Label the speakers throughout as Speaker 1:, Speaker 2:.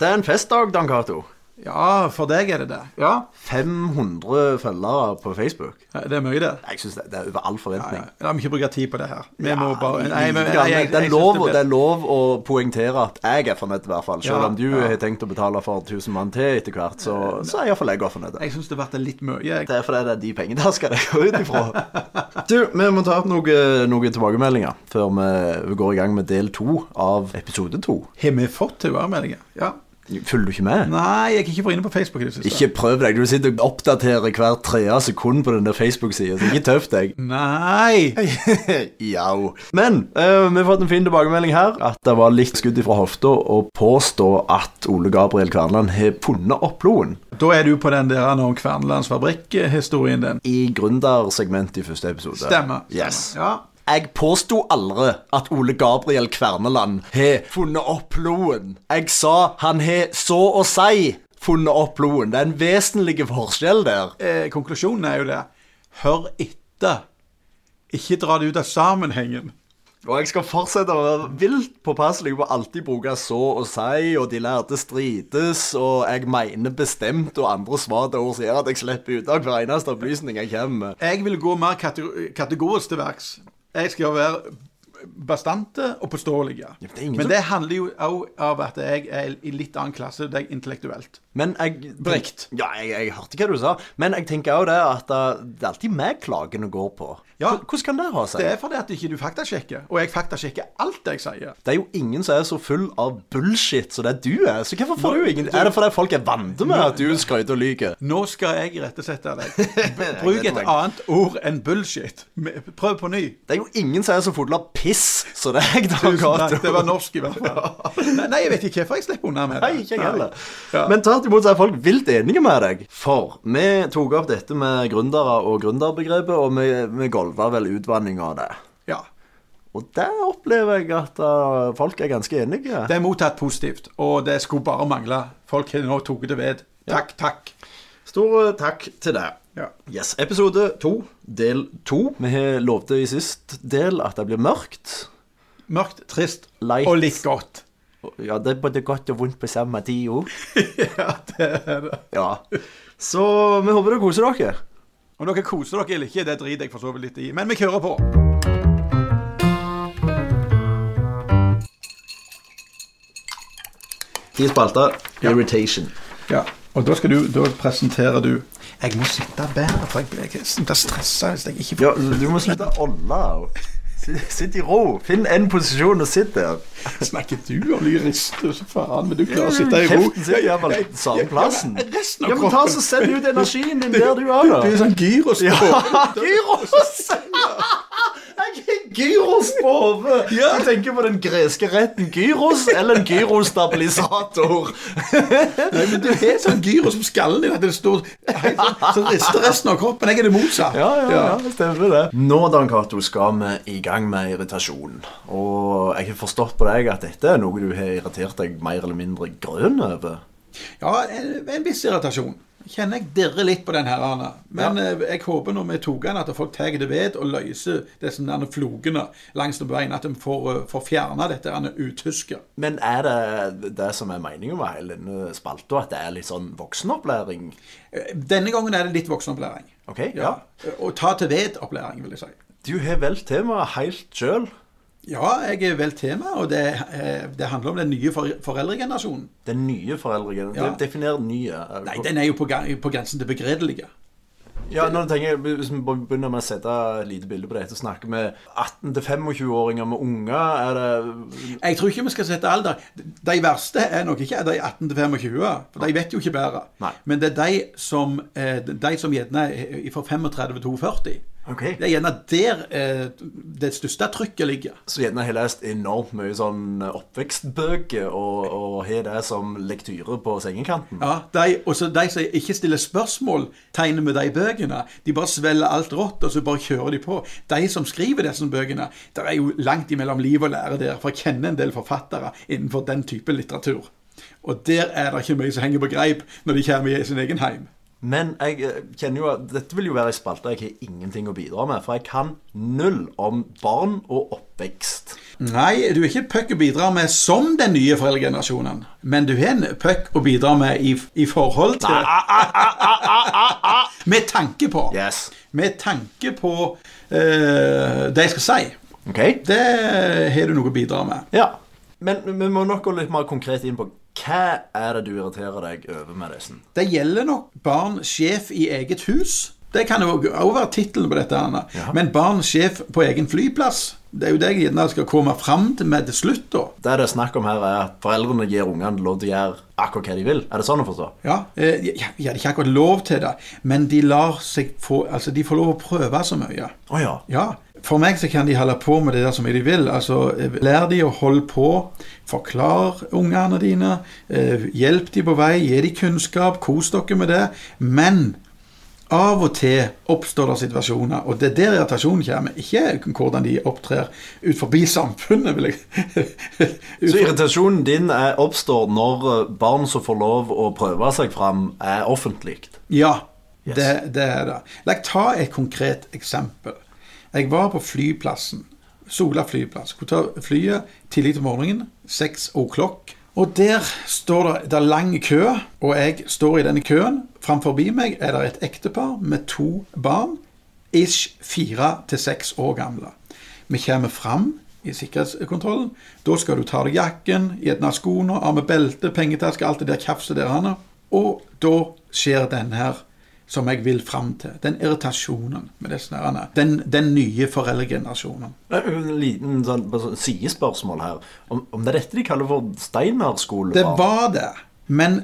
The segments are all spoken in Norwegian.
Speaker 1: Det er en festdag, Dan Cato.
Speaker 2: Ja, for deg er det det. Ja,
Speaker 1: 500 følgere på Facebook.
Speaker 2: det er mye, det.
Speaker 1: Jeg synes det, det er over all
Speaker 2: Nei,
Speaker 1: forventning.
Speaker 2: La meg ikke bruke tid på det her. Vi må
Speaker 1: Ja,
Speaker 2: bare
Speaker 1: lite
Speaker 2: Nei, men-
Speaker 1: grann.
Speaker 2: nei, jeg-
Speaker 1: det, er
Speaker 2: jeg synes
Speaker 1: lov,
Speaker 2: blir-
Speaker 1: det er lov å poengtere at jeg er fornøyd, i hvert fall. Selv
Speaker 2: Ja,
Speaker 1: om du
Speaker 2: ja.
Speaker 1: har tenkt å betale for 1000 mann til etter hvert, så, så er iallfall jeg også fornøyd.
Speaker 2: Jeg syns det ble litt mye. Jeg.
Speaker 1: Det er fordi det er de pengene der skal det gå ut ifra. Du, vi må ta opp noen noe tilbakemeldinger før vi går i gang med del to av episode to.
Speaker 2: Har vi fått tilbakemeldinger? Ja.
Speaker 1: Følger du ikke med?
Speaker 2: Nei, jeg har ikke vært inne på Facebook i det siste.
Speaker 1: Ikke prøv deg. Du sitter og oppdaterer hver tredje sekund på den der Facebook-sida. så Ikke tøff deg.
Speaker 2: Nei!
Speaker 1: Jau. Men eh, vi har fått en fin tilbakemelding her. At det var litt skudd fra hofta å påstå at Ole Gabriel Kverneland har funnet opp bloen.
Speaker 2: Da er du på den der om Kvernelands fabrikk-historien din.
Speaker 1: I gründersegmentet i første episode.
Speaker 2: Stemmer. stemmer.
Speaker 1: Yes.
Speaker 2: Ja.
Speaker 1: Jeg påsto aldri at Ole Gabriel Kverneland har funnet opp bloen. Jeg sa han har så å si funnet opp bloen. Det er en vesentlig forskjell der.
Speaker 2: Eh, konklusjonen er jo det. Hør etter. Ikke dra det ut av sammenhengen.
Speaker 1: Og jeg skal fortsette å være vilt påpasselig på å alltid bruke så og si, og de lærte strides, og jeg mener bestemt, og andre svar til ord sier at jeg slipper ut av hver eneste opplysning jeg kommer med.
Speaker 2: Jeg vil gå mer katego- kategorisk til verks. Jeg skal være bastante og påståelige.
Speaker 1: Ja, men det er ingen
Speaker 2: Men
Speaker 1: som-
Speaker 2: det handler jo òg av at jeg er i litt annen klasse enn deg intellektuelt.
Speaker 1: Men jeg
Speaker 2: Brekt.
Speaker 1: Ja, jeg, jeg hørte hva du sa, men jeg tenker òg det at uh, det er alltid meg klagene går på.
Speaker 2: Ja.
Speaker 1: H- Hvordan kan det ha seg?
Speaker 2: Det er fordi at ikke du faktasjekker, og jeg faktasjekker alt jeg sier.
Speaker 1: Det er jo ingen som er så full av bullshit som det du er. Så hvorfor får
Speaker 2: Nå-
Speaker 1: du ingen Er det fordi folk er vant med at du skryter og lyver?
Speaker 2: Nå skal jeg irettesette deg. B-
Speaker 1: Jeg
Speaker 2: Bruk
Speaker 1: vet
Speaker 2: et
Speaker 1: det.
Speaker 2: annet ord enn bullshit. Me- Prøv på ny.
Speaker 1: Det er jo ingen som er så full av piss som det er jeg. Dan
Speaker 2: Tusen takk.
Speaker 1: Cato.
Speaker 2: Det var norsk, i hvert fall. Nei, nei, jeg vet ikke hvorfor jeg slipper unna med det.
Speaker 1: Nei, ikke jeg heller.
Speaker 2: Ja.
Speaker 1: Men tvert imot så er folk vilt enige med deg. For vi tok opp dette med gründere og gründerbegrepet, og vi, vi golva vel utvanning av det.
Speaker 2: Ja.
Speaker 1: Og der opplever jeg at uh, folk er ganske enige.
Speaker 2: Det er mottatt positivt, og det skulle bare mangle. Folk har nå tatt det ved. Takk, takk.
Speaker 1: Stor uh, takk til deg.
Speaker 2: Ja.
Speaker 1: Yes, Episode to, del to. Vi har lovte i sist del at det blir mørkt.
Speaker 2: Mørkt, trist
Speaker 1: Light.
Speaker 2: og litt godt.
Speaker 1: Og- Ja, det er både godt og vondt på samme tid òg.
Speaker 2: ja, det er det.
Speaker 1: Ja. Så vi håper dere koser dere.
Speaker 2: Om dere koser dere eller ikke, det driter jeg for så vidt litt i. Men vi kjører på.
Speaker 1: Ti spalter. Irritation.
Speaker 2: Ja, og da skal du, da presenterer du Jeg må sitte bedre, for jeg blir stressa hvis jeg ikke
Speaker 1: Ja, du må slutte å olle. Sitt, sitt i ro. Finn en posisjon og sitt der.
Speaker 2: Snakker du om lyrister, så faen, men du klarer å sitte i ro.
Speaker 1: Kjeften sitter iallfall på samme plassen.
Speaker 2: Ja, men resten av
Speaker 1: Ja, men ta
Speaker 2: kroppen.
Speaker 1: så Send ut energien din der du er,
Speaker 2: Du er
Speaker 1: da.
Speaker 2: sånn gyros på.
Speaker 1: Gyros! Jeg er gyros på hodet.
Speaker 2: Ja.
Speaker 1: Du tenker på den greske retten gyros eller en gyrostabilisator.
Speaker 2: Nei, men du er sånn gyros på skallen din, at det står helt sånn, så rister resten av kroppen. Jeg er det motsatt.
Speaker 1: det stemmer det. Nå, Dan Cato, skal vi i gang med irritasjon. Og jeg har forstått på deg at dette er noe du har irritert deg mer eller mindre grønn over.
Speaker 2: Ja, en, en viss irritasjon. Kjenner jeg dirrer litt på den her, Arne. Men eh, jeg håper når vi tok den, at folk tar det ved og løser disse derne flogene langs den veien. At de får, eh, får fjerna dette derne utysket.
Speaker 1: Men er det det som er meningen med hele denne spalta, at det er litt sånn voksenopplæring?
Speaker 2: Eh, Denne gangen er det litt voksenopplæring.
Speaker 1: Ok, ja.
Speaker 2: Eh, Og ta til ved-opplæring, vil jeg si.
Speaker 1: Du har valgt temaet helt sjøl.
Speaker 2: Ja, jeg er vel tema, og det, eh, det handler om den nye for, foreldregenerasjonen.
Speaker 1: Den nye foreldregen.
Speaker 2: Ja.
Speaker 1: De- Definer nye.
Speaker 2: Nei, den er jo på, gang- på grensen til begredelige.
Speaker 1: Ja, nå tenker jeg, Hvis vi bare begynner med å sette et lite bilde på dette og snakke med 18-25-åringer med unger er det...
Speaker 2: Jeg tror ikke vi skal sette alder. De verste er nok ikke de 18 til 25, for de vet jo ikke bedre.
Speaker 1: Nei.
Speaker 2: Men det er de som, eh, de som gjerne er fra 35 til 42.
Speaker 1: Ok.
Speaker 2: Det er gjerne der eh, det største trykket ligger.
Speaker 1: Så gjerne har jeg lest enormt mye sånn oppvekstbøker og, og har det som lektyre på sengekanten.
Speaker 2: Ja, de, og så de som ikke stiller spørsmål, tegner med de bøkene. De bare svelger alt rått, og så bare kjører de på. De som skriver disse bøkene, der er jo langt imellom liv og lære der, for jeg kjenner en del forfattere innenfor den type litteratur. Og der er det ikke mye som henger på greip når de kommer i sin egen heim.
Speaker 1: Men jeg eh, kjenner jo at dette vil jo være ei spalte jeg har ingenting å bidra med. For jeg kan null om barn og oppvekst.
Speaker 2: Nei, du er ikke en puck å bidra med som den nye foreldregenerasjonen. Men du er en puck å bidra med i, i forhold til Med tanke på.
Speaker 1: Yes.
Speaker 2: Med tanke på eh, det jeg skal si.
Speaker 1: Ok?
Speaker 2: Det har du noe å bidra med.
Speaker 1: Ja. Men vi må nok gå litt mer konkret inn på hva er det du irriterer deg over med disse?
Speaker 2: Det gjelder nok barn sjef i eget hus. Det kan jo også være tittelen på dette. Anna.
Speaker 1: Ja.
Speaker 2: Men barn sjef på egen flyplass, det er jo det jeg gjerne skal komme fram til med til slutt, da.
Speaker 1: Det det er snakk om her, er at foreldrene gir ungene lov til å gjøre akkurat hva de vil. Er det sånn å forstå?
Speaker 2: Ja, eh, ja, ja, de har ikke akkurat lov til det, men de lar seg få Altså, de får lov å prøve så mye.
Speaker 1: Å ja.
Speaker 2: Ja, for meg så kan de holde på med det der som de vil. Altså, eh, lær de å holde på, forklar ungene dine, eh, hjelp de på vei, gi de kunnskap, kos dere med det. Men av og til oppstår det situasjoner, og det er der irritasjonen kommer. Ikke hvordan de opptrer ut forbi samfunnet, vil jeg Ut
Speaker 1: Så
Speaker 2: for-
Speaker 1: irritasjonen din er, oppstår når eh, barn som får lov å prøve seg fram, er offentlig?
Speaker 2: Ja,
Speaker 1: Yes.
Speaker 2: det, det er det. La meg ta et konkret eksempel. Jeg var på flyplassen, Sola flyplass. Skulle ta flyet tidlig til morgenen, seks o'clock. Og der står det, det er lang kø, og jeg står i denne køen. Framfor meg er det et ektepar med to barn, ish fire til seks år gamle. Vi kommer fram i sikkerhetskontrollen. Da skal du ta av deg jakken, gjerne skoene, av med belte, pengetaske, alt det der kjafset der. Anna. Og da skjer den her som jeg vil fram til. Den irritasjonen med disse nærene. Den, den nye foreldregenerasjonen.
Speaker 1: En liten sånn, bare sånn sidespørsmål her. Om, om det er dette de kaller for
Speaker 2: Det
Speaker 1: Steinerskolebarn?
Speaker 2: var det. Men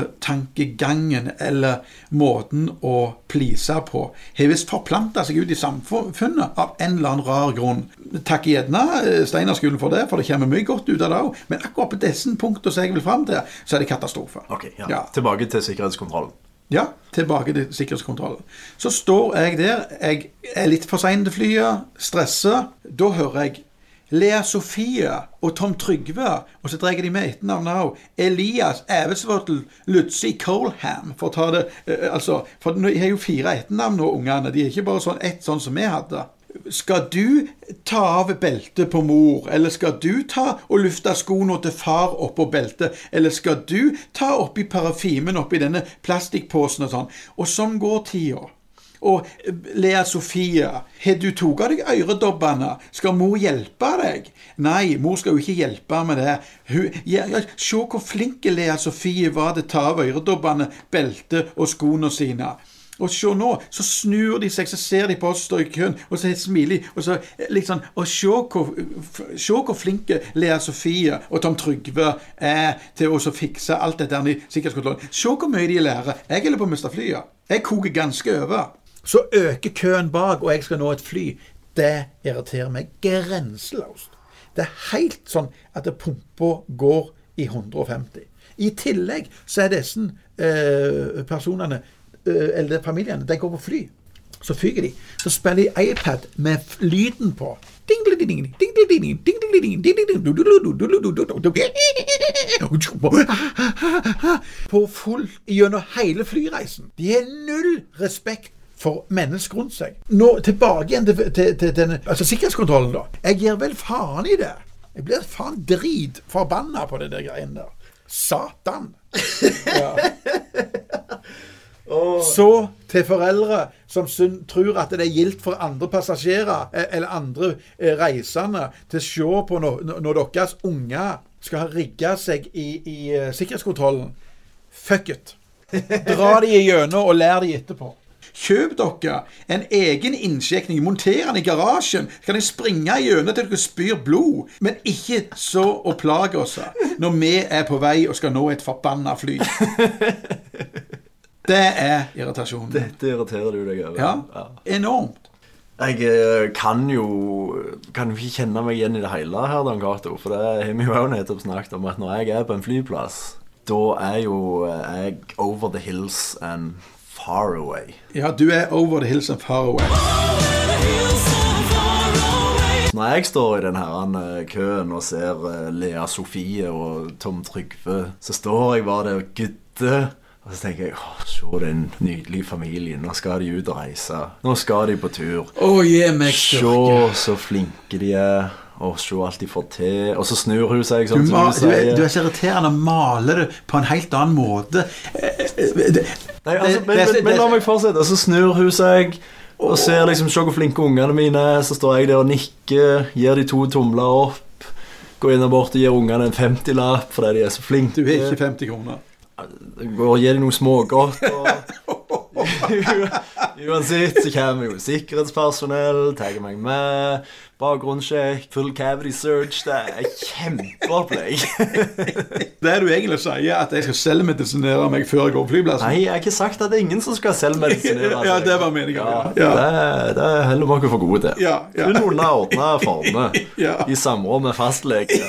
Speaker 2: Steinerskule-tankegangen, eller måten å please på, har visst forplanta seg ut i samfunnet av en eller annen rar grunn. Takk gjerne eh, Steinerskolen for det, for det kommer mye godt ut av det òg. Men akkurat på disse punktene som jeg vil fram til, så er det katastrofe.
Speaker 1: Ok, ja.
Speaker 2: Ja.
Speaker 1: Tilbake til sikkerhetskontrollen.
Speaker 2: Ja, tilbake til sikkerhetskontrollen. Så står jeg der, jeg er litt for sein til flyet, stresser. Da hører jeg Lea Sofie og Tom Trygve, og så drar jeg de med etternavnet òg. Elias Evesvotl Lutzi Colham, for å ta det eh, Altså, for nå har jo fire etternavn nå, ungene. De er ikke bare sånn ett, sånn som vi hadde. Skal du ta av beltet på mor, eller skal du ta og lufte skoene til far oppå beltet, eller skal du ta oppi parafimen oppi denne plastikkposen og sånn? Og sånn går tida. Og eh, Lea Sofie, har du tatt av deg øredobbene? Skal mor hjelpe deg? Nei, mor skal jo ikke hjelpe med det. Hun, ja, ja, se hvor flinke Lea Sofie var til å ta av øredobbene, beltet og skoene sine. Og se nå, så snur de seg, så ser de på oss står i køen, og så smiler de. Og så eh, liksom Og se hvor, f- se hvor flinke Lea Sofie og Tom Trygve er til å så fikse alt dette her i sikkerhetskontrollen. Se hvor mye de lærer. Jeg holder på å miste flyet. Jeg koker ganske over. Så øker køen bak, og jeg skal nå et fly. Det irriterer meg grenseløst. Det er helt sånn at pumpa går i 150. I tillegg så er disse eh, personene, eh, eller de familiene, de går på fly. Så fyker de. Så spiller de iPad med f- lyden på. Ding-ding-ding, ding-ding-ding, ding-ding-ding, ding-ding-ding, du-du-du-du-du-du-du-du-du. På full gjennom hele flyreisen. De har null respekt for mennesker rundt seg. Nå tilbake igjen til, til, til denne altså sikkerhetskontrollen, da. Jeg gir vel faen i det. Jeg blir faen dritforbanna på det der greiene der. Satan. Så til foreldre som syn, tror at det er gildt for andre passasjerer eh, eller andre eh, reisende til å se på når, når deres unger skal ha rigga seg i, i eh, sikkerhetskontrollen. Fuck it. Dra de igjennom og lær de etterpå. Kjøp dere en egen innsjekning, monter den i garasjen. Så kan jeg springe gjennom til dere spyr blod. Men ikke så å plage oss når vi er på vei og skal nå et forbanna fly. Det er irritasjonen.
Speaker 1: Dette irriterer du deg over?
Speaker 2: Ja, enormt.
Speaker 1: Jeg eh, kan jo Kan jo ikke kjenne meg igjen i det hele her, Dan Cato. For det har vi jo også nettopp snakket om, at når jeg er på en flyplass, da er jo eh, jeg over the hills and far away.
Speaker 2: Ja, du er over the hills and far away.
Speaker 1: Når jeg står i den herrene køen og ser eh, Lea Sofie og Tom Trygve, så står jeg bare der og gudder. Og så tenker jeg åh, se den nydelige familien. Nå skal de ut og reise. Nå skal de på tur.
Speaker 2: Å, gi meg styrke.
Speaker 1: Se så flinke de er, og se alt de får til. Og så snur hun seg,
Speaker 2: Du,
Speaker 1: sånn
Speaker 2: ma,
Speaker 1: som du
Speaker 2: du, er,
Speaker 1: sier.
Speaker 2: du er så irriterende å male det på en helt annen måte. Eh, eh, det-
Speaker 1: Nei, altså,
Speaker 2: det-
Speaker 1: men,
Speaker 2: det-
Speaker 1: men, men la meg fortsette. Så snur hun seg og ser liksom Se hvor flinke ungene mine er. Så står jeg der og nikker, gir de to tomler opp. Går inn og bort og gir ungene en 50-lapp fordi de er så flinke.
Speaker 2: Du har ikke 50 kroner.
Speaker 1: Går og gir dem noe smågodt. Og... Uansett så kommer jo sikkerhetspersonell, tar meg med. Bakgrunnssjekk, full cavity search. Det er kjempeopplegg.
Speaker 2: Det du egentlig sier, er at jeg skal selvmedisinere meg før jeg går på flyplassen.
Speaker 1: Nei, jeg har ikke sagt at det er ingen som skal selvmedisinere. seg.
Speaker 2: Ja, det var meningen,
Speaker 1: Ja,
Speaker 2: ja.
Speaker 1: Det, det heller vi oss for gode til.
Speaker 2: Ja, ja.
Speaker 1: Kun under ordna former,
Speaker 2: Ja.
Speaker 1: i samråd med fastlege.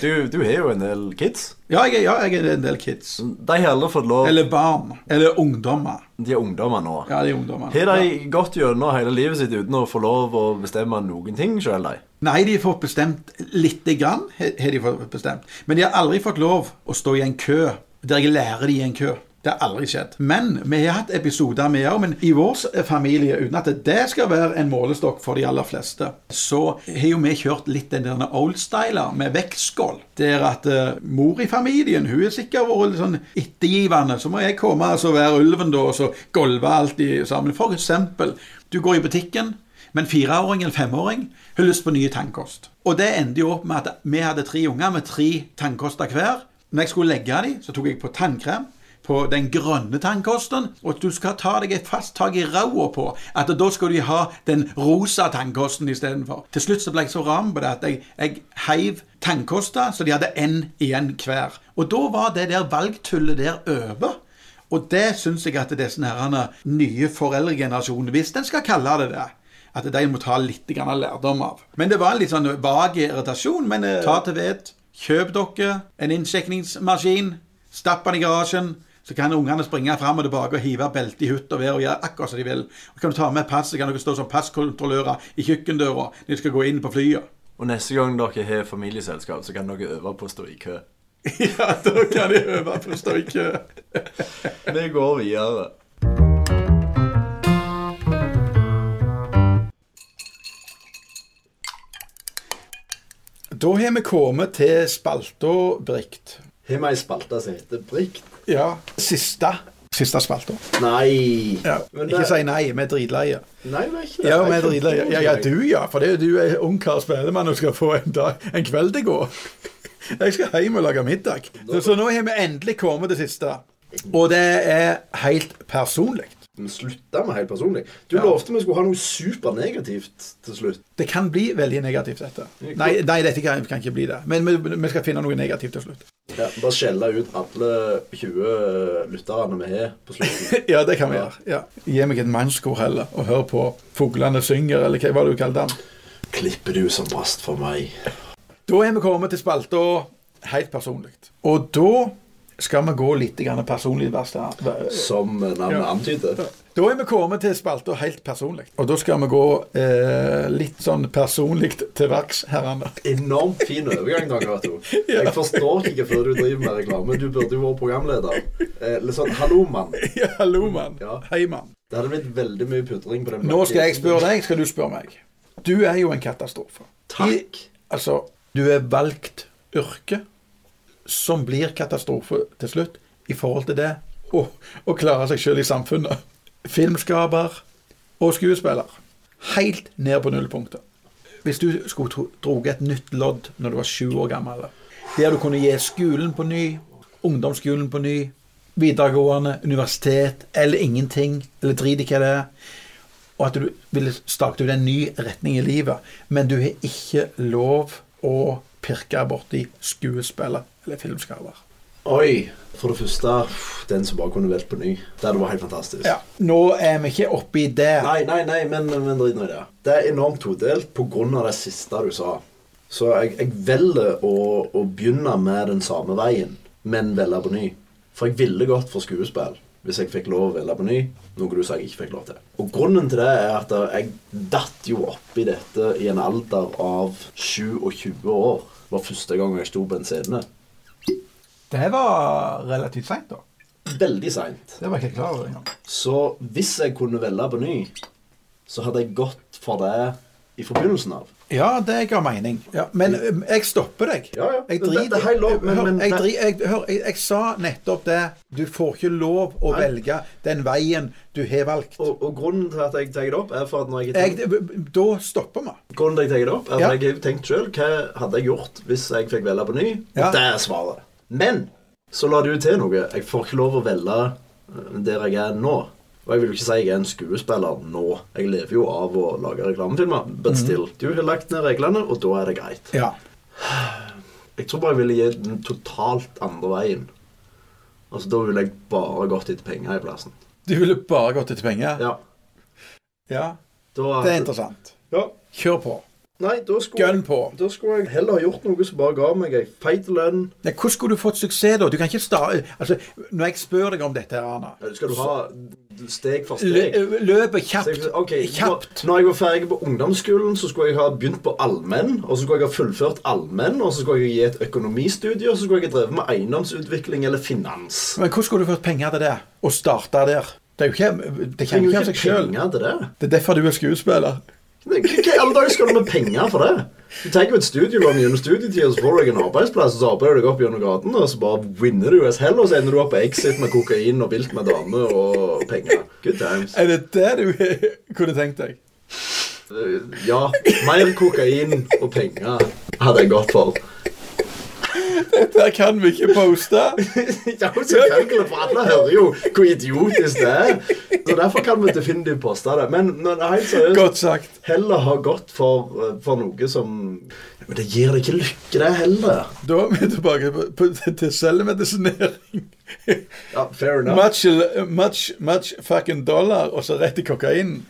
Speaker 1: Du, du har jo en del kids.
Speaker 2: Ja, jeg, ja, jeg er en del kids.
Speaker 1: De har aldri fått lov
Speaker 2: Eller barn. Eller ungdommer.
Speaker 1: De er ungdommer nå.
Speaker 2: Ja, de er ungdommer.
Speaker 1: Har de gått gjennom hele livet sitt uten å få lov å bestemme noen ting sjøl, de?
Speaker 2: Nei, de har fått bestemt lite grann, he- har de fått bestemt. Men de har aldri fått lov å stå i en kø der jeg lærer de i en kø. Det har aldri skjedd. Men vi har hatt episoder med òg. Men i vår s- familie, uten at det skal være en målestokk for de aller fleste, så har jo vi kjørt litt den der oldstyler med vektskål. Der at eh, mor i familien, hun er sikkert vært litt sånn ettergivende. Så må jeg komme og altså, være ulven, da, og så golve alt i sammen. For eksempel, du går i butikken. Men fireåring eller femåring har lyst på nye tannkost. Og det endte jo opp med at vi hadde tre unger med tre tannkoster hver. Når jeg skulle legge dem, så tok jeg på tannkrem på den grønne tannkosten. Og du skal ta deg et fast tak i ræva på at da skal du ha den rosa tannkosten istedenfor. Til slutt så ble jeg så ram på det at jeg, jeg heiv tannkoster, så de hadde én igjen hver. Og da var det der valgtullet der over. Og det syns jeg at disse herrene, nye foreldregenerasjonen, hvis den skal kalle det det, at de må ta litt grann av lærdom av. Men det var en litt sånn vag irritasjon. Men eh, ta til vett, kjøp dere en innsjekningsmaskin, stapp den i garasjen. Så kan ungene springe fram og tilbake og hive belte i hutt og vær og gjøre akkurat som de vil. Og kan du ta med passet, kan dere stå som passkontrollører i kjøkkendøra når de skal gå inn på flyet.
Speaker 1: Og neste gang dere har familieselskap, så kan dere øve på å stå i kø.
Speaker 2: ja, da kan de øve på å stå i kø.
Speaker 1: Vi går videre.
Speaker 2: Da har vi kommet til spalta Brikt.
Speaker 1: Har vi ei spalte som heter Brikt?
Speaker 2: Ja. Siste. Siste spalta.
Speaker 1: Nei. Men det-
Speaker 2: Ikke si nei, vi er dritleie.
Speaker 1: Nei, vi er ikke det.
Speaker 2: Ja,
Speaker 1: Det
Speaker 2: vi er
Speaker 1: ikke
Speaker 2: dritleie. Ja, ja, du ja. For det er jo du er ungkar spellemann og skal få en, dag, en kveld til å gå. Jeg skal hjem og lage middag. Så, så nå har vi endelig kommet til siste. Og det er helt personlig.
Speaker 1: Vi slutta med helt personlig. Du lovte vi skulle ha noe supernegativt til slutt.
Speaker 2: Det kan bli veldig negativt, dette. Nei, nei dette kan, kan ikke bli det. Men vi, vi skal finne noe negativt til slutt.
Speaker 1: Ja, bare skjelle ut alle 20 lytterne vi har på slutten.
Speaker 2: Ja, det kan vi gjøre. Ja. Gi meg et mannskor heller, og hør på fuglene synger, eller hva var det du kalte den?
Speaker 1: Klipper du som brast for meg?
Speaker 2: Da er vi kommet til spalta helt personlig. Og da skal vi gå litt grann personlig til verks her.
Speaker 1: Som navnet
Speaker 2: Ja.
Speaker 1: antyder.
Speaker 2: Da er vi kommet til spalta helt personlig. Og da skal vi gå eh, litt sånn personlig til verks, herrene.
Speaker 1: Enormt fin overgang, Dag Cato. Jeg forstår ikke før du driver med reklame. Du burde jo vært programleder. Eh, litt sånn hallo, mann.
Speaker 2: Ja, hallo, mann.
Speaker 1: Ja.
Speaker 2: Hei, mann.
Speaker 1: Det hadde blitt veldig mye putring på den
Speaker 2: Nå skal jeg spørre deg, skal du spørre meg. Du er jo en katastrofe.
Speaker 1: Takk.
Speaker 2: altså, du er valgt yrke som blir katastrofe til slutt i forhold til det å, å klare seg sjøl i samfunnet. Filmskaper og skuespiller. Helt ned på nullpunktet. Hvis du skulle tro- droge et nytt lodd når du var sju år gammel, der du kunne gi skolen på ny, ungdomsskolen på ny, videregående, universitet eller ingenting, eller drit i hva det er, og at du ville stake ut en ny retning i livet, men du har ikke lov å pirke borti skuespiller eller filmskaper.
Speaker 1: Oi. For det første, den som bare kunne velt på ny. Det hadde vært helt fantastisk.
Speaker 2: Ja. Nå er vi ikke oppi det.
Speaker 1: Nei, nei, nei, men, men drit nå i det. Det er enormt todelt pga. det siste du sa. Så jeg, jeg velger å, å begynne med den samme veien, men velge på ny. For jeg ville gått for skuespill hvis jeg fikk lov å velge på ny, noe du sa jeg ikke fikk lov til. Og grunnen til det er at jeg datt jo oppi dette i en alder av 27 år. Det var første gang jeg sto på en scene.
Speaker 2: Det var relativt seint, da.
Speaker 1: veldig seint.
Speaker 2: Det var jeg ikke klar over engang.
Speaker 1: Så hvis jeg kunne velge på ny, så hadde jeg gått for det i forbindelsen av.
Speaker 2: Ja, det ga mening. Ja, men øhm, jeg stopper deg.
Speaker 1: Ja, ja.
Speaker 2: Jeg
Speaker 1: Det-
Speaker 2: driter
Speaker 1: det er helt lov, men-
Speaker 2: Hør,
Speaker 1: men-
Speaker 2: jeg, dri- jeg, hør, jeg, jeg sa nettopp det. Du får ikke lov å velge den veien du har valgt.
Speaker 1: Og, og grunnen til at jeg tar det opp, er for at når jeg,
Speaker 2: Jeg, da stopper vi.
Speaker 1: grunnen til at jeg tar det opp, er at
Speaker 2: Ja.
Speaker 1: jeg har tenkt sjøl hva hadde jeg gjort hvis jeg fikk velge på ny.
Speaker 2: Ja.
Speaker 1: Og det er svaret. Men så la du til noe. Jeg får ikke lov å velge eh, der jeg er nå. Og jeg vil jo ikke si jeg er en skuespiller nå. Jeg lever jo av å lage reklamefilmer.
Speaker 2: Mhm.
Speaker 1: But still. Du har lagt ned reglene, og da er det greit.
Speaker 2: Ja.
Speaker 1: Jeg tror bare jeg ville gi den totalt andre veien. Altså, Da ville jeg bare gått etter penger i plassen.
Speaker 2: Du ville bare gått etter penger?
Speaker 1: Ja.
Speaker 2: Ja.
Speaker 1: Da,
Speaker 2: Det er interessant.
Speaker 1: Ja.
Speaker 2: Kjør på.
Speaker 1: Nei, da skulle,
Speaker 2: Gønn på.
Speaker 1: da skulle jeg heller ha gjort noe som bare ga meg ei feit lønn.
Speaker 2: Nei, hvordan skulle du fått suksess da? Du kan ikke starte altså, Når jeg spør deg om dette, Arna
Speaker 1: Ja, du skal du ha steg for steg.
Speaker 2: lø- Løpet kjapt.
Speaker 1: Så- ok,
Speaker 2: eh, Kjapt.
Speaker 1: Når, når jeg var ferdig på ungdomsskolen, så skulle jeg ha begynt på allmenn. Og så skulle jeg ha fullført allmenn, og så skulle jeg gi et økonomistudie, og så skulle jeg ha drevet med eiendomsutvikling eller finans.
Speaker 2: Men hvordan skulle du fått penger til det? Å starte der? Det er jo ikke Det kan
Speaker 1: Jeg trenger
Speaker 2: jo ikke
Speaker 1: jo
Speaker 2: av
Speaker 1: ikke
Speaker 2: seg sjøl.
Speaker 1: penger til det.
Speaker 2: Det er derfor du er skuespiller.
Speaker 1: Hva i alle dager skal du med penger for det? Du tar jo et studielån gjennom studietida, så får du deg en arbeidsplass, og så arbeider du deg opp gjennom gaten, og så bare vinner du as hell, og så ender du opp på Exit med kokain og vilt med dame og penger. Good times.
Speaker 2: Er det det du kunne tenkt deg?
Speaker 1: Eh, Ja, mer kokain og penger hadde jeg gått for.
Speaker 2: Dette kan vi ikke poste.
Speaker 1: Ja, selvfølgelig, for alle hører jo hvor idiotisk det er. Så derfor kan vi definitivt poste det. Men men helt seriøst
Speaker 2: Godt sagt.
Speaker 1: Heller ha gått for, eh, for noe som Ja, Men det gir deg ikke lykke, det heller.
Speaker 2: Da er vi tilbake på, på, til selvmedisinering.
Speaker 1: Ja, fair enough.
Speaker 2: Much, much, much fucking dollar, og så rett i kokainen.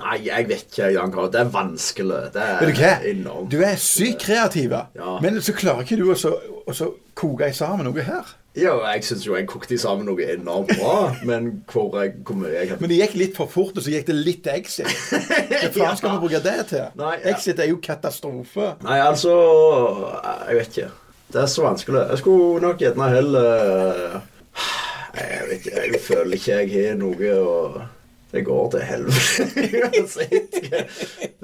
Speaker 1: Nei, jeg vet ikke. Jan Karl. Det er vanskelig. Det er
Speaker 2: Vet du hva?
Speaker 1: enormt.
Speaker 2: Du er sykt kreativ,
Speaker 1: Ja.
Speaker 2: men så klarer ikke du å så- å så koke i sammen noe her.
Speaker 1: Jo, jeg syns jo jeg kokte sammen noe enormt bra, men hvor, jeg, hvor mye jeg
Speaker 2: Men det gikk litt for fort, og så gikk det litt til Exit. Hva faen skal vi bruke det til?
Speaker 1: Nei, ja.
Speaker 2: Exit er jo katastrofe.
Speaker 1: Nei, altså Jeg vet ikke. Det er så vanskelig. Jeg skulle nok gjerne heller Nei, Jeg vet ikke. Jeg føler ikke jeg har noe å Det går til helvete uansett.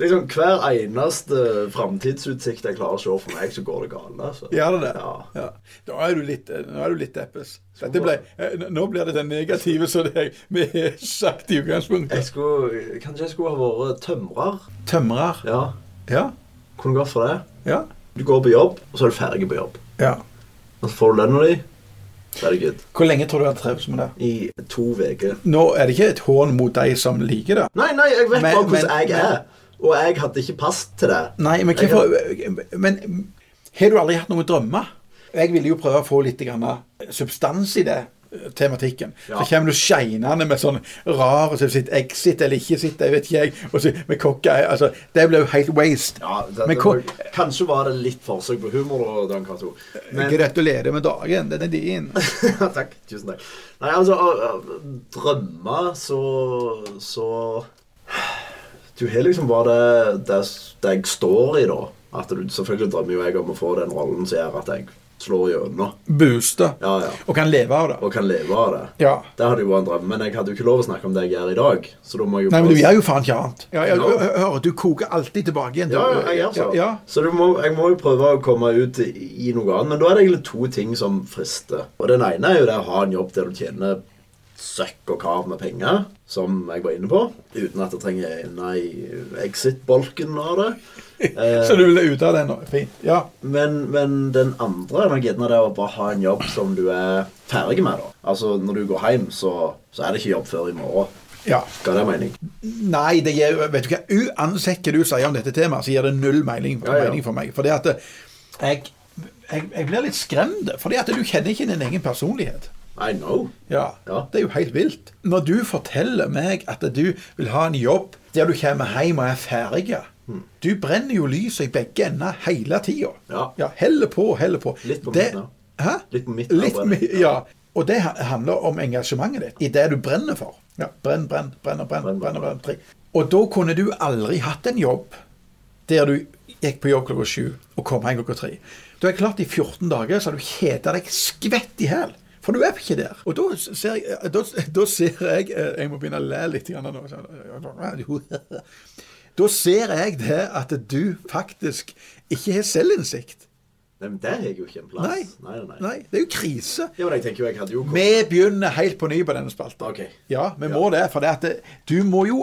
Speaker 1: Liksom, hver eneste framtidsutsikt jeg klarer å se for meg, så går det galt. Altså.
Speaker 2: Gjør det det?
Speaker 1: Ja.
Speaker 2: Ja. Da er du litt, eh, nå er du litt deppes. Dette ble, eh, nå blir det den negative som det vi har sagt i
Speaker 1: Jeg
Speaker 2: utgangspunktet.
Speaker 1: skulle, kanskje jeg skulle ha vært tømrer.
Speaker 2: Tømrer.
Speaker 1: Ja,
Speaker 2: Ja.
Speaker 1: kunne gått for det.
Speaker 2: Ja.
Speaker 1: Du går på jobb, og så er du ferdig på jobb.
Speaker 2: ja.
Speaker 1: Og så får du lønna di. Så er det good.
Speaker 2: Hvor lenge tror du han trives med det?
Speaker 1: I to uker.
Speaker 2: Nå er det ikke et hån mot de som liker det.
Speaker 1: Nei, nei, jeg vet
Speaker 2: Men-
Speaker 1: bare hvordan
Speaker 2: men-
Speaker 1: jeg
Speaker 2: men-
Speaker 1: er. Og jeg hadde ikke pass til det.
Speaker 2: Nei, men
Speaker 1: Jeg
Speaker 2: hvorfor Men har du aldri hatt noen drømmer? Jeg ville jo prøve å få litt grann substans i det eh, tematikken.
Speaker 1: Ja.
Speaker 2: Så kommer du shinende med sånn rar og så sitt exit eller ikke sitt, jeg vet ikke jeg. Og så med kokka altså, Det blir jo helt waste.
Speaker 1: Ja, det,
Speaker 2: Men
Speaker 1: det
Speaker 2: hvor-
Speaker 1: var, kanskje var det litt forsøk på humor. da, Dan Cato. Men,
Speaker 2: Gratulerer med dagen. Den er din.
Speaker 1: takk. Tusen takk. Nei, altså å- å Drømme, så Så Du har liksom bare det, det, det jeg står i, da. At du, selvfølgelig drømmer jo jeg om å få den rollen som gjør at jeg slår gjennom.
Speaker 2: Booster.
Speaker 1: Ja, ja.
Speaker 2: Og kan leve av det.
Speaker 1: Og kan leve av det.
Speaker 2: Ja.
Speaker 1: Det hadde jo vært en drøm, men jeg hadde jo ikke lov å snakke om det jeg gjør i dag. Så da må jeg jo
Speaker 2: Nei, men du
Speaker 1: prøve-
Speaker 2: gjør jo faen ikke annet. Ja, ja,
Speaker 1: Ja.
Speaker 2: hø- hø- Hører, du koker alltid tilbake igjen.
Speaker 1: Ja, ja, jeg gjør så.
Speaker 2: Ja,
Speaker 1: Så du må, jeg må jo prøve å komme ut i i noe annet. Men da er det egentlig to ting som frister. Og den ene er jo det å ha en jobb der du tjener søkk og kav med penger, som jeg var inne på. Uten at jeg trenger ende i exit-bolken av det. Eh,
Speaker 2: ja. Så du vil ut av det nå? Fint. Ja.
Speaker 1: Men, men den andre er nok gjerne det å bare ha en jobb som du er ferdig med, da. Altså når du går hjem, så, så er det ikke jobb før i morgen.
Speaker 2: ja.
Speaker 1: Hva er det mening?
Speaker 2: Nei, det gir, vet du hva, uansett hva du sier om dette temaet, så gir det null mening,
Speaker 1: Ja, ja.
Speaker 2: mening for meg. Fordi at eh, jeg, jeg, jeg blir litt skremt, fordi at du kjenner ikke din egen personlighet.
Speaker 1: I know.
Speaker 2: Ja,
Speaker 1: Ja.
Speaker 2: Det er jo helt vilt. Når du forteller meg at du vil ha en jobb der du kommer hjem og er ferdig
Speaker 1: Hmm.
Speaker 2: Du brenner jo lyset i begge ender hele tida.
Speaker 1: Ja.
Speaker 2: heller på, heller på.
Speaker 1: Litt på midten,
Speaker 2: Hæ?
Speaker 1: Litt på midten av
Speaker 2: Litt,
Speaker 1: brenning,
Speaker 2: mi- ja. Og det ha- handler om engasjementet ditt i det du brenner for. Ja, brenn, brenn, brenn, brenn,
Speaker 1: Brenn,
Speaker 2: brenn,
Speaker 1: brenn,
Speaker 2: brenn, tre. Og da kunne du aldri hatt en jobb der du gikk på jobb klokka sju og kom hjem klokka tre. Du har klart i 14 dager så har du kjeda deg skvett i hjel. For du er ikke der. Og da ser jeg, eh, da, da ser jeg eh, Jeg må begynne å le litt grann nå. sånn. Da ser jeg det at du faktisk ikke har selvinnsikt.
Speaker 1: Nei, men der er jeg jo ikke en
Speaker 2: Nei.
Speaker 1: plass. Nei, nei, nei.
Speaker 2: Nei, det er jo krise.
Speaker 1: Ja, men jeg tenker jo jeg hadde jo kommet.
Speaker 2: Vi begynner helt på ny på denne spalten.
Speaker 1: Ok.
Speaker 2: Ja, vi må det, for det at det, du må jo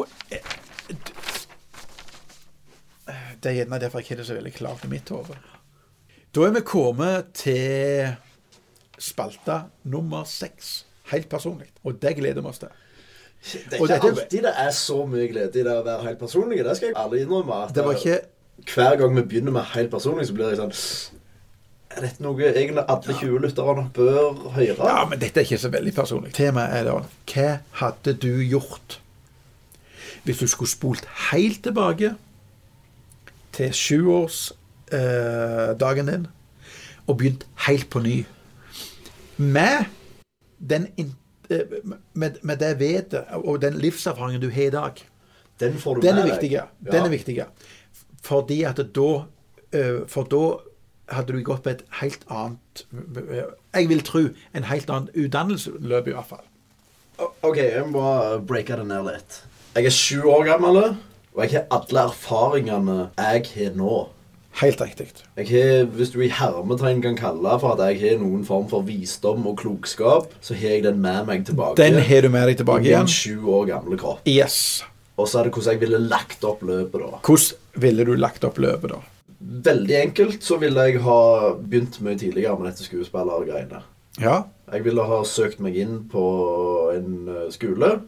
Speaker 2: Det er gjerne derfor jeg ikke har det så veldig klart i mitt hode. Da er vi kommet til spalta nummer seks, helt personlig. Og det gleder vi oss til.
Speaker 1: Det er
Speaker 2: Og
Speaker 1: ikke
Speaker 2: dette-
Speaker 1: alltid det er så mye glede i det å være helt personlig. Det skal jeg alle innrømme. at-
Speaker 2: Det var ikke
Speaker 1: Hver gang vi begynner med helt personlig, så blir jeg sånn Er dette noe egentlig alle 20 lytterne bør høre?
Speaker 2: Ja, men dette er ikke så veldig personlig. Temaet er da Hva hadde du gjort hvis du skulle spolt helt tilbake til sjuårsdagen eh, dagen din og begynt helt på ny? Med den in- eh, med, med det vetet og den livserfaringen du har i dag.
Speaker 1: Den får du
Speaker 2: Den
Speaker 1: med
Speaker 2: er
Speaker 1: deg.
Speaker 2: viktig. ja.
Speaker 1: Ja.
Speaker 2: Den er viktig. ja. Fordi at da eh, For da hadde du gått på et helt annet eh, Jeg vil tro en helt annen utdannelsesløp, i hvert fall.
Speaker 1: O- OK, jeg må bare uh, breake det ned litt. Jeg er sju år gammel, og jeg har alle erfaringene jeg har nå.
Speaker 2: Helt riktig.
Speaker 1: Jeg har, Hvis du i hermetegn kan kalle for at jeg har noen form for visdom og klokskap, så har jeg den med meg tilbake.
Speaker 2: Den har du med deg tilbake
Speaker 1: i min
Speaker 2: igjen.
Speaker 1: sju år gamle kropp.
Speaker 2: Yes.
Speaker 1: Og så er det hvordan jeg ville lagt opp løpet, da.
Speaker 2: Hvordan ville du lagt opp løpet, da?
Speaker 1: Veldig enkelt så ville jeg ha begynt mye tidligere med dette skuespillergreiene.
Speaker 2: Ja.
Speaker 1: Jeg ville ha søkt meg inn på en eh, skole.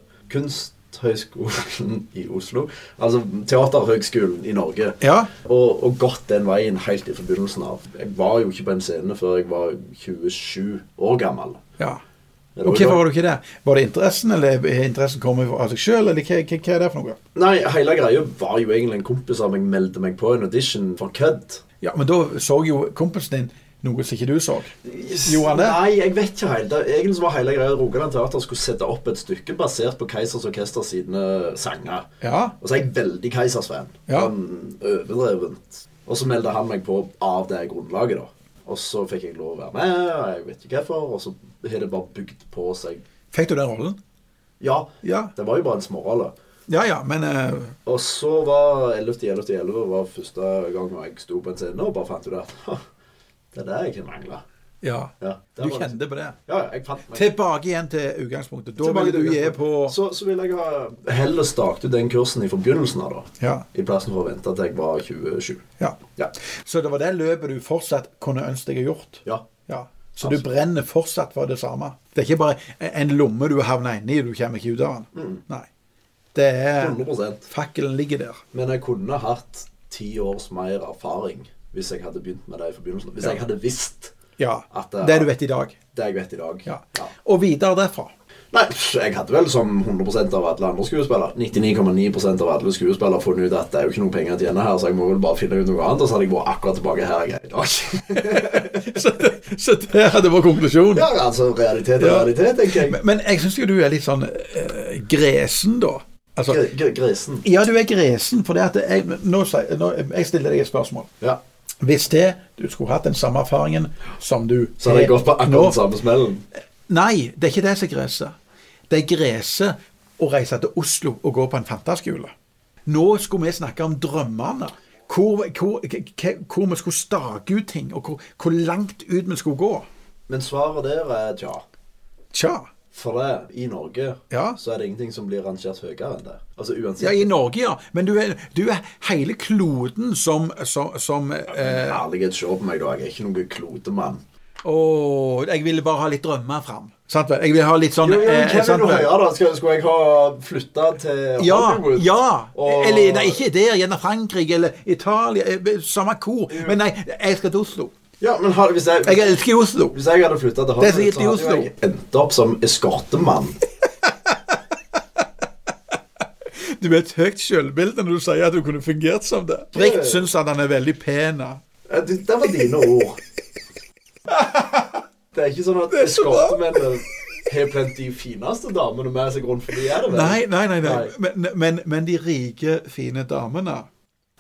Speaker 1: Kunsthøgskolen i Oslo. Altså Teaterhøgskolen i Norge.
Speaker 2: ja.
Speaker 1: Og, og gått den veien helt i forbindelsen av. Jeg var jo ikke på en scene før jeg var 27 år gammel.
Speaker 2: ja.
Speaker 1: Det var
Speaker 2: Og
Speaker 1: jo-
Speaker 2: hvorfor var du ikke det? Var det interessen, eller er interessen kommet av seg sjøl, eller hva, hva, hva er det for noe?
Speaker 1: Nei, hele greia var jo egentlig en kompis av meg meldte meg på en audition for kødd.
Speaker 2: Ja, Men da så jo kompisen din noe som ikke du så. Gjorde han det?
Speaker 1: Nei, jeg vet ikke helt. Det- Egentlig så var hele greia at Rogaland Teater skulle sette opp et stykke basert på Keisers Orkester sine sanger.
Speaker 2: Ja.
Speaker 1: Og så er jeg veldig Keisers-fan.
Speaker 2: Ja.
Speaker 1: Sånn Overdrevent. Og så meldte han meg på av det grunnlaget, da. Og så fikk jeg lov å være med, og jeg vet ikke hvorfor. Og så har det bare bygd på seg.
Speaker 2: Fikk du den rollen?
Speaker 1: Ja,
Speaker 2: Ja.
Speaker 1: det var jo bare en smårolle.
Speaker 2: Ja ja, men eh,
Speaker 1: Og så var 11.11.11 var første gang jeg sto på en scene og bare fant ut at «Hå, det er det jeg kan mangle.
Speaker 2: Ja.
Speaker 1: Ja, det
Speaker 2: Du
Speaker 1: var-
Speaker 2: kjente på det.
Speaker 1: Ja, jeg fant meg.
Speaker 2: Tilbake igjen til utgangspunktet. Da
Speaker 1: Tilbake
Speaker 2: vil
Speaker 1: til
Speaker 2: du gi
Speaker 1: utgangspunktet.
Speaker 2: på
Speaker 1: Så, så vil jeg ha heller starte ut den kursen i forbegynnelsen av, da.
Speaker 2: Ja.
Speaker 1: I plassen for å vente til jeg var 27.
Speaker 2: ja.
Speaker 1: Ja.
Speaker 2: Så det var det løpet du fortsatt kunne ønske deg å gjort?
Speaker 1: ja.
Speaker 2: Ja. Så du brenner fortsatt for det samme? Det er ikke bare en lomme du havner inni, du kommer ikke ut av den.
Speaker 1: Mm.
Speaker 2: Nei. Det er
Speaker 1: 100
Speaker 2: Fakkelen ligger der.
Speaker 1: Men jeg kunne hatt ti års mer erfaring hvis jeg hadde begynt med det i forbegynnelsen. Hvis jeg hadde visst
Speaker 2: Ja.
Speaker 1: At det er-
Speaker 2: Det du vet i dag.
Speaker 1: det jeg vet i dag.
Speaker 2: Ja.
Speaker 1: Ja.
Speaker 2: Og videre derfra.
Speaker 1: Nei, jeg hadde vel som 100 av alle andre skuespillere 99,9 av alle skuespillere funnet ut at det er jo ikke noen penger å tjene her, så jeg må vel bare finne ut noe annet, og så hadde jeg vært akkurat tilbake her jeg er i dag.
Speaker 2: Så, så det hadde vært konklusjonen.
Speaker 1: ja, altså realitet er
Speaker 2: Ja.
Speaker 1: realitet, tenker jeg.
Speaker 2: Men, men jeg syns jo du er litt sånn eh, gresen, da. Altså,
Speaker 1: Gr- gr- Grisen.
Speaker 2: Ja, du er gresen, for det at jeg, nå, sier- nå, jeg stiller deg et spørsmål.
Speaker 1: Ja.
Speaker 2: Hvis det, du skulle hatt den samme erfaringen som du
Speaker 1: Så hadde jeg
Speaker 2: har
Speaker 1: gått på
Speaker 2: Eh, nå-
Speaker 1: akkurat samme smellen.
Speaker 2: Nei, det er ikke det som er greset. Det er greset å reise til Oslo og gå på en fantaskole. Nå skulle vi snakke om drømmene. Hvor, hvor, hva- hvor vi skulle stake ut ting, og hvor, hvor langt ut vi skulle gå.
Speaker 1: Men svaret der er tja.
Speaker 2: Tja.
Speaker 1: For det, i Norge
Speaker 2: Ja.
Speaker 1: så er det ingenting som blir rangert høyere enn det. Altså uansett.
Speaker 2: Ja, i Norge, ja. Men du er, du er hele kloden som, som, som eh,
Speaker 1: Ærlighet, se på meg, da. Jeg er ikke noen klotemann.
Speaker 2: Å, jeg ville bare ha litt drømmer fram. Sant vel? Jeg vil ha litt sånn
Speaker 1: Jo, jo, men
Speaker 2: eh,
Speaker 1: Hvem
Speaker 2: sant
Speaker 1: vil du
Speaker 2: vel?
Speaker 1: høre, da? Skal, skulle jeg ha flytta til
Speaker 2: Ja,
Speaker 1: Hollywood?
Speaker 2: ja.
Speaker 1: Og-
Speaker 2: Eller nei, ikke der, gjerne Frankrike eller Italia. eh, Samme hvor. Men nei, jeg skal til Oslo.
Speaker 1: Ja, men har, hvis, jeg,
Speaker 2: Jeg elsker Oslo.
Speaker 1: hvis jeg hadde flytta til
Speaker 2: Det er så gitt
Speaker 1: Hollywood,
Speaker 2: i
Speaker 1: så hadde jo jeg endt opp som eskortemann.
Speaker 2: Du har et høyt selvbilde når du sier at du kunne fungert som det. Brikt syns at han er veldig pen. da.
Speaker 1: Ja, du- Det var dine ord. Det er ikke sånn at
Speaker 2: er så bra.
Speaker 1: eskortemennene har blant de fineste damene med seg rundt forbi. Er det vel?
Speaker 2: Nei, nei, nei. nei.
Speaker 1: Nei.
Speaker 2: Men, men, men de rike, fine damene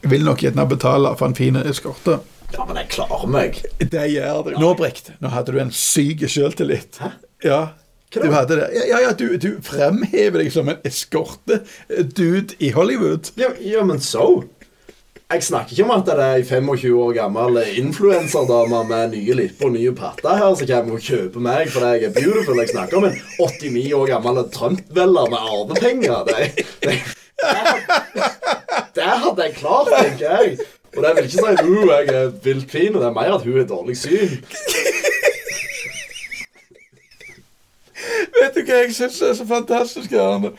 Speaker 2: vil nok gjerne betale for en fin eskorte.
Speaker 1: Ja, men jeg klarer meg.
Speaker 2: Det gjør du. Nå, Brikt, nå hadde du en syk selvtillit. Ja.
Speaker 1: Hva da?
Speaker 2: Du hadde det. Ja, ja, ja, du, du fremhever deg som en eskorte-dude i Hollywood.
Speaker 1: Ja, ja, men så? Jeg snakker ikke om at det er ei 25 år gammel influenserdame med nye lipper og nye patter her som kommer og kjøper meg fordi jeg er beautiful. Jeg snakker om en 89 år gammel Trump-velger med arvepenger. Det, det, det hadde jeg klart, tenker jeg. Og det vil ikke si at uh, jeg er vilt fin, og det er mer at hun er dårlig syn.
Speaker 2: Vet du hva jeg syns er så fantastisk? Arne?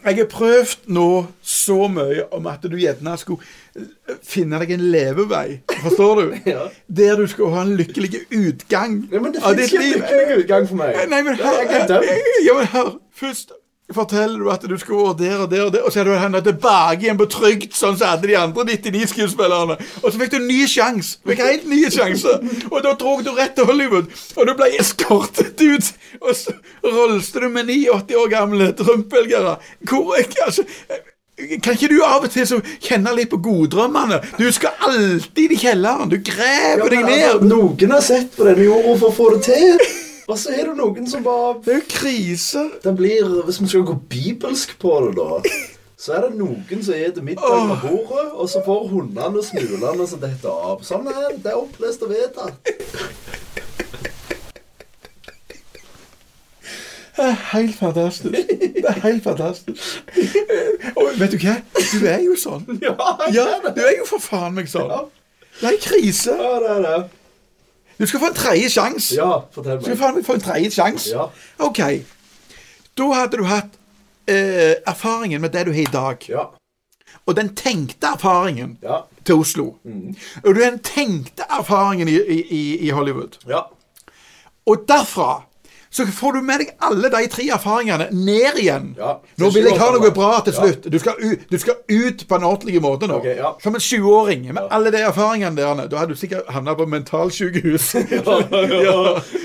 Speaker 2: Jeg har prøvd nå så mye om at du gjerne skulle eh, finne deg en levevei. Forstår du?
Speaker 1: Ja.
Speaker 2: Der du skal ha en lykkelig utgang
Speaker 1: Ja, men det fins ikke en lykkelig utgang for meg.
Speaker 2: Nei, men hør,
Speaker 1: Jeg er dømt.
Speaker 2: ja, men hør. Først forteller du at du skal over der og der, og der, og så er du havnet tilbake igjen på trygt, sånn som alle de andre 99 skuespillerne. Og så fikk du en ny sjanse. Fikk helt nye sjanser. Og da dro du rett til Hollywood, og du ble eskortet ut. Og så rolste du med 89 år gamle trumpvelgere. Hvor altså, kan ikke du av og til så kjenne litt på goddrømmene? Du skal alltid i kjelleren. Du
Speaker 1: Ja,
Speaker 2: graver
Speaker 1: men
Speaker 2: deg
Speaker 1: altså,
Speaker 2: ned.
Speaker 1: Noen har sett på denne jorda for å få det til. Og så er det noen som bare
Speaker 2: Det er jo krise.
Speaker 1: Det blir, Hvis vi skal gå bibelsk på det, da så er det noen som spiser middag på bordet, og så får hundene og smulene som detter av. Sånn er det. Det er opplest og vedtatt.
Speaker 2: Det er helt fantastisk. Det er helt fantastisk. Og vet du hva? Du er jo sånn.
Speaker 1: Ja, jeg
Speaker 2: Ja,
Speaker 1: er det.
Speaker 2: du er jo for faen meg sånn.
Speaker 1: Ja.
Speaker 2: Det er en krise.
Speaker 1: Ja, det er det.
Speaker 2: Du skal få en tredje sjanse.
Speaker 1: Ja, fortell
Speaker 2: Du skal
Speaker 1: meg.
Speaker 2: faen meg få en tredje sjanse.
Speaker 1: Ja.
Speaker 2: OK. Da hadde du hatt eh, erfaringen med det du har i dag,
Speaker 1: Ja.
Speaker 2: og den tenkte erfaringen
Speaker 1: Ja. Mm.
Speaker 2: til Oslo. Og du har den tenkte erfaringen i, i, i Hollywood.
Speaker 1: Ja.
Speaker 2: Og derfra så får du med deg alle de tre erfaringene ned igjen.
Speaker 1: Ja.
Speaker 2: Nå vil jeg ha noe
Speaker 1: Sjuåringen.
Speaker 2: bra til
Speaker 1: Ja.
Speaker 2: slutt. Du, skal ut, du skal ut på en ordentlig måte nå.
Speaker 1: Ok, ja.
Speaker 2: Som en sjuåring. Med alle de erfaringene der. Anne. Da hadde du sikkert havna på mentalsykehus.
Speaker 1: ja.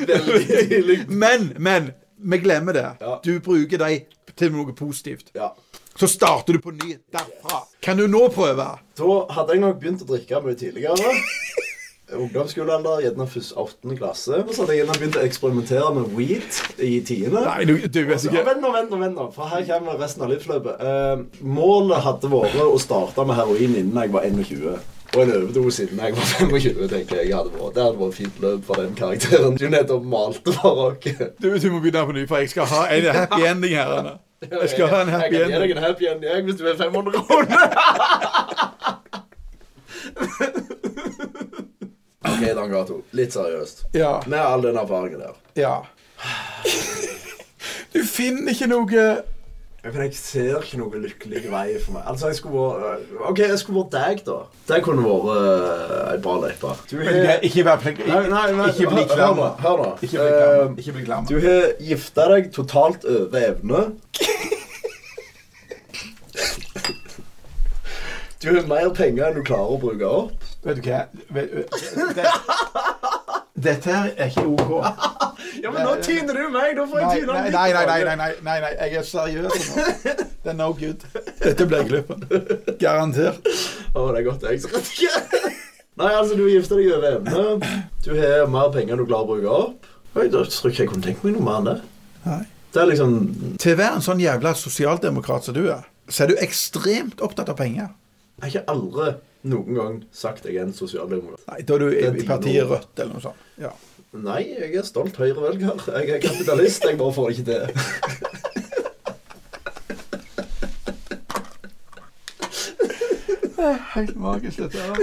Speaker 1: Veldig tidlig.
Speaker 2: men, men. Vi glemmer det.
Speaker 1: Ja.
Speaker 2: Du bruker de til noe positivt.
Speaker 1: Ja.
Speaker 2: Så starter du på ny derfra. Kan du nå prøve?
Speaker 1: Da hadde jeg nok begynt å drikke mye tidligere. Ungdomsskolealder, gjerne først 8. klasse. Og så hadde jeg gjerne begynt å eksperimentere med weed i tiende.
Speaker 2: Nei, du, du er
Speaker 1: Ja,
Speaker 2: sikkert
Speaker 1: vent nå, vent nå, vent nå, for her kommer resten av livsløpet. Eh, målet hadde vært å starte med heroin innen jeg var 21. Og en overdose innen jeg var 25, tenker jeg. hadde vært. Det hadde vært et fint løp for den karakteren du nettopp malte for oss.
Speaker 2: du, du må begynne på ny, for jeg skal ha en happy ending her. Anne. Jeg skal ha en
Speaker 1: Jeg kan
Speaker 2: happy
Speaker 1: gi
Speaker 2: ending.
Speaker 1: deg en happy ending jeg, hvis du vil 500 kroner. OK, Dan Gato. Litt seriøst.
Speaker 2: Ja.
Speaker 1: Med all den erfaringen der.
Speaker 2: Ja. Du finner ikke noe
Speaker 1: Ja, Men jeg ser ikke noe lykkelig vei for meg. Altså, jeg skulle vært OK, jeg skulle vært deg, da. Det kunne vært uh, ei bra løype. Du har
Speaker 2: Ikke vær flink. Ikke bli
Speaker 1: Hør
Speaker 2: klam.
Speaker 1: nå. Hør nå.
Speaker 2: Ikke bli klam.
Speaker 1: Eh,
Speaker 2: Ikke bli klam.
Speaker 1: Du har gifta deg totalt over evne. Du har mer penger enn du klarer å bruke opp.
Speaker 2: Vet du hva Vet- vet- det- Dette her er ikke OK.
Speaker 1: Ja, men nå tyner du meg! Da får
Speaker 2: Nei,
Speaker 1: jeg tyne
Speaker 2: nei,
Speaker 1: litt
Speaker 2: nei, nei,
Speaker 1: tilbake.
Speaker 2: nei, nei, nei, nei, nei. jeg er seriøs nå. Det er no good. Dette blir glippen. Garantert.
Speaker 1: Å, det er godt jeg som rett ikke Nei, altså, du gifter deg over evne. Du har mer penger enn du klarer å bruke opp. Oi, da tror jeg ikke jeg kunne tenkt meg noe mer enn det.
Speaker 2: Nei.
Speaker 1: Det er liksom
Speaker 2: Til å være en sånn jævla sosialdemokrat som du er, så er du ekstremt opptatt av penger.
Speaker 1: Jeg har ikke aldri noen gang sagt jeg er en sosialdemokrat.
Speaker 2: Nei, da er du
Speaker 1: Det er
Speaker 2: i, i
Speaker 1: din
Speaker 2: partiet
Speaker 1: ord.
Speaker 2: Rødt eller noe sånt. Ja.
Speaker 1: Nei, jeg er stolt høyrevelger. Jeg er kapitalist. Jeg bare får ikke det.
Speaker 2: Det er helt magisk, dette her.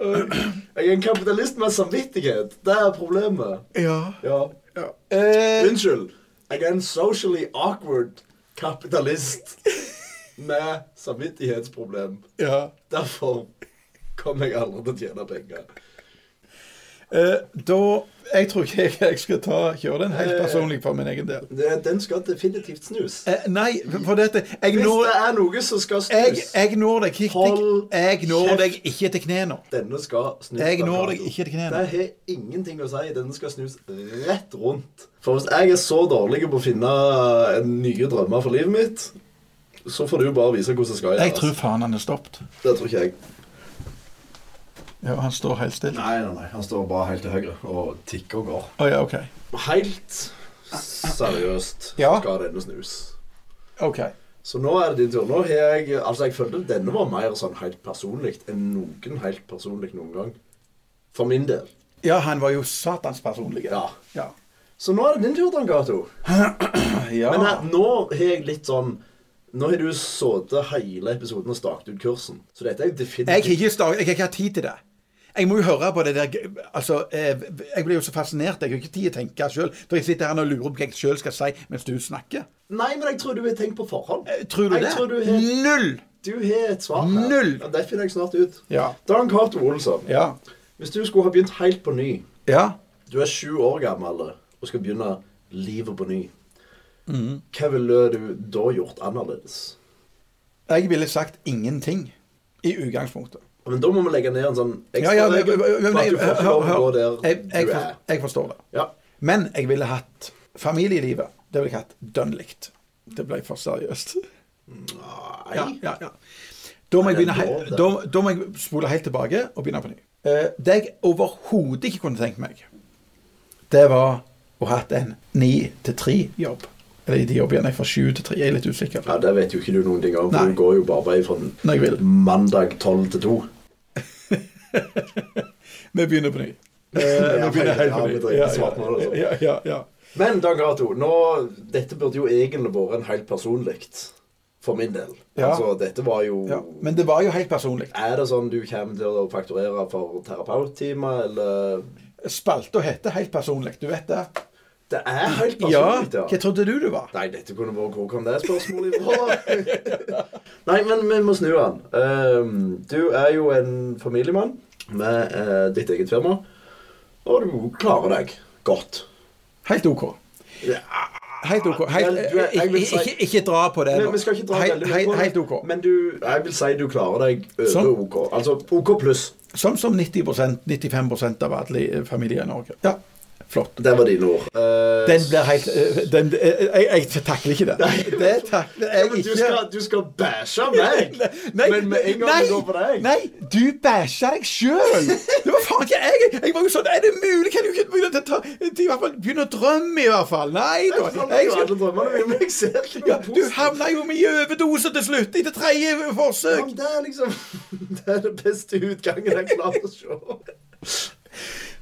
Speaker 1: Jeg er en kapitalist med samvittighet. Det er problemet.
Speaker 2: Ja.
Speaker 1: Ja.
Speaker 2: ja. Eh,
Speaker 1: Unnskyld. Jeg er en socially awkward kapitalist med samvittighetsproblem.
Speaker 2: ja.
Speaker 1: Derfor kommer jeg aldri til å tjene penger.
Speaker 2: Eh, da Jeg tror ikke jeg, jeg skal ta, kjøre den
Speaker 1: Eh.
Speaker 2: helt personlig for min egen del.
Speaker 1: Det- Den skal definitivt snus.
Speaker 2: Eh, nei, for dette Jeg
Speaker 1: Hvis
Speaker 2: når,
Speaker 1: det er noe som skal snus
Speaker 2: jeg, jeg når deg ikke
Speaker 1: Hold
Speaker 2: Jeg når
Speaker 1: kjeft.
Speaker 2: deg ikke til kne nå.
Speaker 1: Denne skal snus.
Speaker 2: Jeg når
Speaker 1: Mercado.
Speaker 2: deg ikke til knærne.
Speaker 1: Det har ingenting å si. Denne skal snus rett rundt. For hvis jeg er så dårlig på å finne eh, nye drømmer for livet mitt, så får du bare vise hvordan det skal gjøres.
Speaker 2: Jeg tror faen han er stoppet.
Speaker 1: Det tror ikke jeg.
Speaker 2: Ja, han står helt stille.
Speaker 1: Nei, nei, nei, han står bare helt til høyre og tikker og går.
Speaker 2: Å ja, OK.
Speaker 1: Helt seriøst
Speaker 2: Ja.
Speaker 1: skal denne snus.
Speaker 2: ok.
Speaker 1: Så nå er det din tur. Nå har jeg Altså, jeg følte denne var mer sånn helt personlig enn noen helt personlig noen gang. For min del.
Speaker 2: Ja, han var jo satans personlig.
Speaker 1: Ja.
Speaker 2: Ja.
Speaker 1: Så nå er det din tur, Dan Cato.
Speaker 2: ja.
Speaker 1: Men her, nå har jeg litt sånn Nå har du sittet hele episoden og staket ut kursen. Så dette er jo
Speaker 2: Jeg har
Speaker 1: definitivt
Speaker 2: ikke, start, jeg har ikke hatt tid til det. Jeg må jo høre på det der altså, eh, Jeg blir jo så fascinert. Jeg har ikke tid til å tenke sjøl. For jeg sitter her og lurer på hva jeg sjøl skal si mens du snakker.
Speaker 1: Nei, men jeg tror du har tenkt på forhånd.
Speaker 2: Eh, Tror du
Speaker 1: jeg
Speaker 2: det?
Speaker 1: Tror du, har,
Speaker 2: Null!
Speaker 1: du har et svar her.
Speaker 2: Null.
Speaker 1: Ja, det finner jeg snart ut.
Speaker 2: Ja.
Speaker 1: Dan Cato Olsson,
Speaker 2: Ja.
Speaker 1: hvis du skulle ha begynt helt på ny
Speaker 2: Ja.
Speaker 1: Du er sju år gammel og skal begynne livet på ny.
Speaker 2: Mm.
Speaker 1: Hva ville du da gjort annerledes?
Speaker 2: Jeg ville sagt ingenting i utgangspunktet.
Speaker 1: Men da må vi legge ned en sånn
Speaker 2: Ja, ja, men-
Speaker 1: ekstraregel
Speaker 2: men-
Speaker 1: for at du får ikke lov til å gå
Speaker 2: hør,
Speaker 1: der
Speaker 2: hør. Jeg, jeg,
Speaker 1: du
Speaker 2: for-
Speaker 1: er.
Speaker 2: jeg forstår det.
Speaker 1: Ja.
Speaker 2: Men jeg ville hatt familielivet. Det ville jeg hatt dønn likt. Det ble for seriøst.
Speaker 1: Nei.
Speaker 2: Ja, ja, ja. Da må,
Speaker 1: Nei, det
Speaker 2: jeg begynne,
Speaker 1: er lov,
Speaker 2: he-
Speaker 1: det.
Speaker 2: da, da må jeg spole helt tilbake og begynne på ny. Eh, det jeg overhodet ikke kunne tenkt meg, det var å ha hatt en ni til tre-jobb. Eller de jobber gjerne fra sju til tre, jeg er litt usikker.
Speaker 1: ja, Det vet jo ikke du noen ting om. for
Speaker 2: Nei.
Speaker 1: Du går jo bare vei fra
Speaker 2: Når jeg vil.
Speaker 1: mandag 12 til 2.
Speaker 2: Vi begynner på ny. Eh,
Speaker 1: Ja,
Speaker 2: vi begynner helt
Speaker 1: ja,
Speaker 2: på
Speaker 1: vi
Speaker 2: ny.
Speaker 1: driver
Speaker 2: Ja,
Speaker 1: svart nå,
Speaker 2: ja,
Speaker 1: altså.
Speaker 2: ja, ja, ja.
Speaker 1: Men Dag Rato, nå, dette burde jo egentlig vært en helt personlig for min del.
Speaker 2: Ja.
Speaker 1: Altså, dette var jo
Speaker 2: ja. Men det var jo helt personlig.
Speaker 1: Er det sånn du kommer til å fakturere for terapeuttimer, eller
Speaker 2: Spalta heter helt personlig, du vet det?
Speaker 1: Det er helt
Speaker 2: Ja,
Speaker 1: personlig, ja.
Speaker 2: hva trodde du det var?
Speaker 1: Nei, dette kunne vært Hvor kom det spørsmålet ifra? Nei, men vi må snu den. Um, du er jo en familiemann med eh, ditt eget firma, og du klarer deg godt.
Speaker 2: Helt OK.
Speaker 1: Ja.
Speaker 2: Helt OK. Helt, eh,
Speaker 1: Vel, du er- jeg
Speaker 2: ikke,
Speaker 1: vil si-
Speaker 2: ikke, ikke dra på det
Speaker 1: Men
Speaker 2: nå.
Speaker 1: vi skal ikke dra
Speaker 2: Helt,
Speaker 1: veldig mye
Speaker 2: helt,
Speaker 1: på det,
Speaker 2: helt OK.
Speaker 1: Men du, jeg vil si du klarer deg over
Speaker 2: Sånn.
Speaker 1: OK. Altså OK pluss.
Speaker 2: Sånn som 90-95 av alle eh, familier i Norge. Ja, flott.
Speaker 1: Det var dine ord. Eh,
Speaker 2: Den blir helt eh, den, eh, jeg, jeg takler ikke det. Det takler
Speaker 1: ja,
Speaker 2: jeg
Speaker 1: men du,
Speaker 2: ikke.
Speaker 1: skal, du skal bæsje meg!
Speaker 2: Nei,
Speaker 1: men med en gang
Speaker 2: nei,
Speaker 1: du går på deg
Speaker 2: Nei, du bæsja deg sjøl! Det var faen ikke jeg! Jeg var jo sånn Er det mulig? Kan du ikke begynne å, ta, til, i hvert fall, begynne å drømme, i hvert fall? Nei da.
Speaker 1: Jeg skal alle drømmene mine. Jeg ser ikke noe
Speaker 2: ja, du
Speaker 1: positivt.
Speaker 2: havna jo med i overdose til slutt, etter tredje
Speaker 1: Ja,
Speaker 2: forsøk.
Speaker 1: men det er liksom Det er den beste utgangen jeg klarer å se.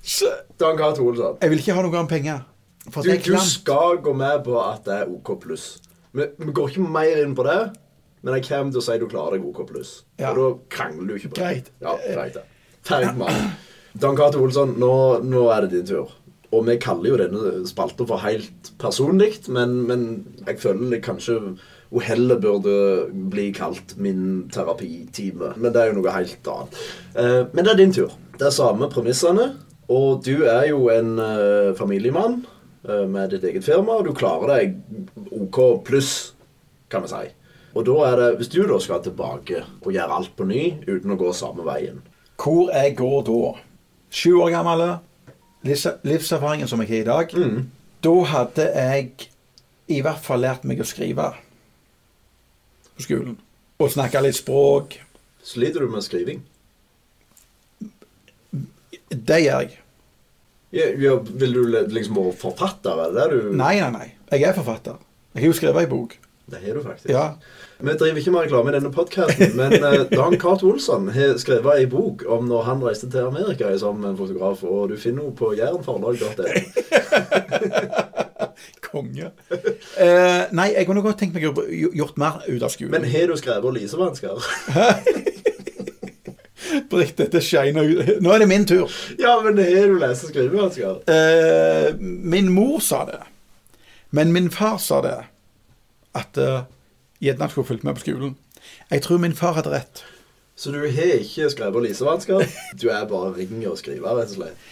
Speaker 2: Så,
Speaker 1: Dan Cato Olsson,
Speaker 2: jeg vil ikke ha noe annet penger. For
Speaker 1: du,
Speaker 2: det er
Speaker 1: du
Speaker 2: klamt.
Speaker 1: skal gå med på at det er OK pluss. Vi vi går ikke mer inn på det, men jeg kommer til å si du klarer deg OK pluss.
Speaker 2: Ja.
Speaker 1: Og da krangler du ikke på det.
Speaker 2: Greit.
Speaker 1: Ja, greit det. Ferdig med det. Dan Cato Olsson, nå, nå er det din tur. Og vi kaller jo denne spalta for helt personlig, men, men jeg føler det kanskje hun heller burde bli kalt min terapitime. Men det er jo noe helt annet. Eh, men det er din tur. Det er samme premissene. Og du er jo en eh, familiemann eh, med ditt eget firma, og du klarer deg OK pluss, kan vi si. Og da er det, hvis du da skal tilbake og gjøre alt på ny uten å gå samme veien
Speaker 2: Hvor jeg går da, sju år gammel, livs- livserfaringen som jeg har i dag,
Speaker 1: Mm.
Speaker 2: da hadde jeg i hvert fall lært meg å skrive på skolen. Og snakke litt språk.
Speaker 1: Sliter du med skriving?
Speaker 2: Det gjør jeg.
Speaker 1: Ja, ja, vil du le- liksom være forfatter, er det det du
Speaker 2: Nei, nei, nei. Jeg er forfatter. Jeg har jo skrevet ei bok.
Speaker 1: Det har du faktisk.
Speaker 2: Ja.
Speaker 1: Vi driver ikke med reklame i denne podkasten, men eh, Dan Cato Olsson har skrevet ei bok om når han reiste til Amerika sammen med en fotograf, og du finner henne på jærenforlag.no.
Speaker 2: Konge. Eh, nei, jeg kunne godt tenkt meg å gjort mer ut av skolen.
Speaker 1: Men har du skrevet lisevansker?
Speaker 2: Britt, dette shiner ut. Nå er det min tur.
Speaker 1: ja, men har du lese- og skrivevansker?
Speaker 2: Eh, min mor sa det, men min far sa det. At eh, gjerne skulle fulgt med på skolen. Jeg tror min far hadde rett.
Speaker 1: Så du har ikke skrevet lisevansker? Du er bare ringer og skriver, rett og slett?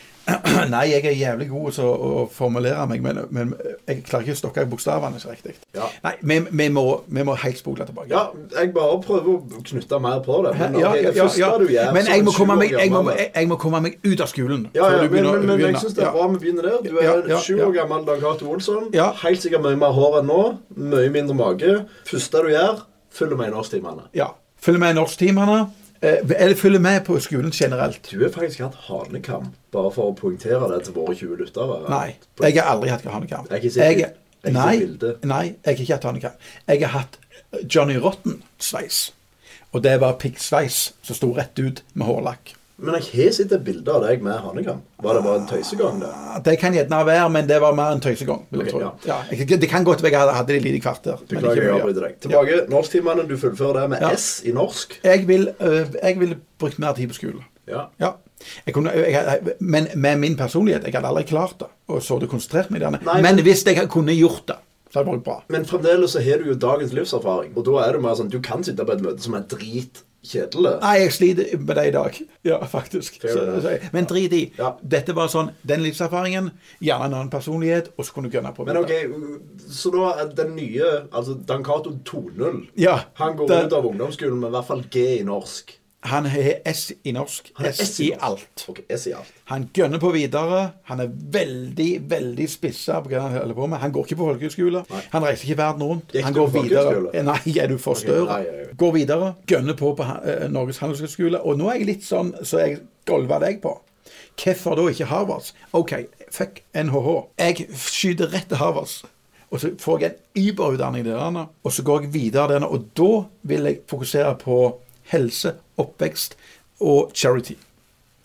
Speaker 2: Nei, jeg er jævlig god til å, å formulere meg, men, men jeg klarer ikke å stokke bokstavene så riktig.
Speaker 1: Ja.
Speaker 2: Nei, vi, vi, må, vi må helt spole tilbake.
Speaker 1: Ja, jeg bare prøver å knytte mer på det. Men
Speaker 2: Ja,
Speaker 1: ok,
Speaker 2: ja,
Speaker 1: det
Speaker 2: ja,
Speaker 1: første
Speaker 2: ja.
Speaker 1: du gjør
Speaker 2: Men
Speaker 1: som
Speaker 2: jeg må,
Speaker 1: en
Speaker 2: komme
Speaker 1: 20
Speaker 2: meg,
Speaker 1: år
Speaker 2: jeg, må,
Speaker 1: gammel-
Speaker 2: jeg, jeg må komme meg ut av skolen.
Speaker 1: Ja,
Speaker 2: før
Speaker 1: ja,
Speaker 2: du
Speaker 1: men,
Speaker 2: begynner å
Speaker 1: men, men jeg
Speaker 2: begynne.
Speaker 1: syns det er
Speaker 2: Ja.
Speaker 1: bra vi begynner der. Du er
Speaker 2: Ja, ja,
Speaker 1: 20 år
Speaker 2: ja.
Speaker 1: gammel Dan Cato Olsson.
Speaker 2: Ja.
Speaker 1: Helt sikkert mye mer hår enn nå. Mye mindre mage. Første du gjør, følger med i norsktimene.
Speaker 2: Ja. Følg med i norsktimene. Eh, Eller følger med på skolen generelt.
Speaker 1: Du har faktisk hatt hanekam, bare for å poengtere det til våre 20 lyttere.
Speaker 2: Nei, jeg har aldri hatt hanekamp.
Speaker 1: Jeg har ikke sett
Speaker 2: Jeg-
Speaker 1: bild- jeg har
Speaker 2: Nei,
Speaker 1: ikke sett bildet.
Speaker 2: nei, jeg har ikke hatt hanekamp. Jeg har hatt eh, Johnny Rotten-sveis. Og det var piggsveis som sto rett ut med hårlakk.
Speaker 1: Men jeg har sett et bilde av deg med hanekam. Var det bare en tøysegang, det?
Speaker 2: Ja, Det kan gjerne være, men det var mer en tøysegang. vil
Speaker 1: Ok,
Speaker 2: jeg tro. Ja, jeg- det kan godt være jeg hadde- hadde det i lite kvarter. men ikke
Speaker 1: Beklager, jeg
Speaker 2: mye.
Speaker 1: avbryter deg. Tilbake. Norsktimene, du fullfører det med
Speaker 2: Ja.
Speaker 1: S i norsk.
Speaker 2: Jeg vil, øh, jeg ville brukt mer tid på skolen.
Speaker 1: Ja.
Speaker 2: Ja. Jeg kunne, jeg, jeg, men med min personlighet, jeg hadde aldri klart det. Og så hadde jeg konsentrert meg der.
Speaker 1: Nei,
Speaker 2: Men hvis jeg kunne gjort det, så hadde det vært bra.
Speaker 1: Men fremdeles så har du jo dagens livserfaring, og da er det mer sånn du kan sitte på et møte som er dritkjedelig.
Speaker 2: Nei, jeg sliter med det i dag. Ja, faktisk.
Speaker 1: Fair
Speaker 2: Så,
Speaker 1: enough.
Speaker 2: så, jeg- men drit i.
Speaker 1: Ja.
Speaker 2: Dette var sånn den livserfaringen, gjerne en annen personlighet, og så kunne du gønne på.
Speaker 1: Men
Speaker 2: med
Speaker 1: OK, så da er den nye, altså Dan Cato 2.0
Speaker 2: Ja.
Speaker 1: Han går
Speaker 2: Det-
Speaker 1: ut av ungdomsskolen med i hvert fall G i norsk.
Speaker 2: det. Han har S i norsk,
Speaker 1: Han har
Speaker 2: S, i
Speaker 1: norsk.
Speaker 2: alt.
Speaker 1: Ok, S i alt.
Speaker 2: Han gønner på videre. Han er veldig, veldig spissa på hva han holder på med. Han går ikke på folkehøyskole. Han reiser ikke verden rundt.
Speaker 1: Gikk
Speaker 2: han
Speaker 1: du
Speaker 2: går
Speaker 1: på
Speaker 2: videre.
Speaker 1: folkehøyskole?
Speaker 2: Eh, Nei, er du for større?
Speaker 1: nei, nei, nei.
Speaker 2: Går videre. Gønner på på eh, Norges handelshøyskole. Og nå er jeg litt sånn som så jeg golva deg på. Hvorfor da ikke Harvards? OK, fuck NHH. Jeg skyter rett til Harvards. Og så får jeg en überutdanning der, Anna. og så går jeg videre der, og da vil jeg fokusere på helse, oppvekst og charity.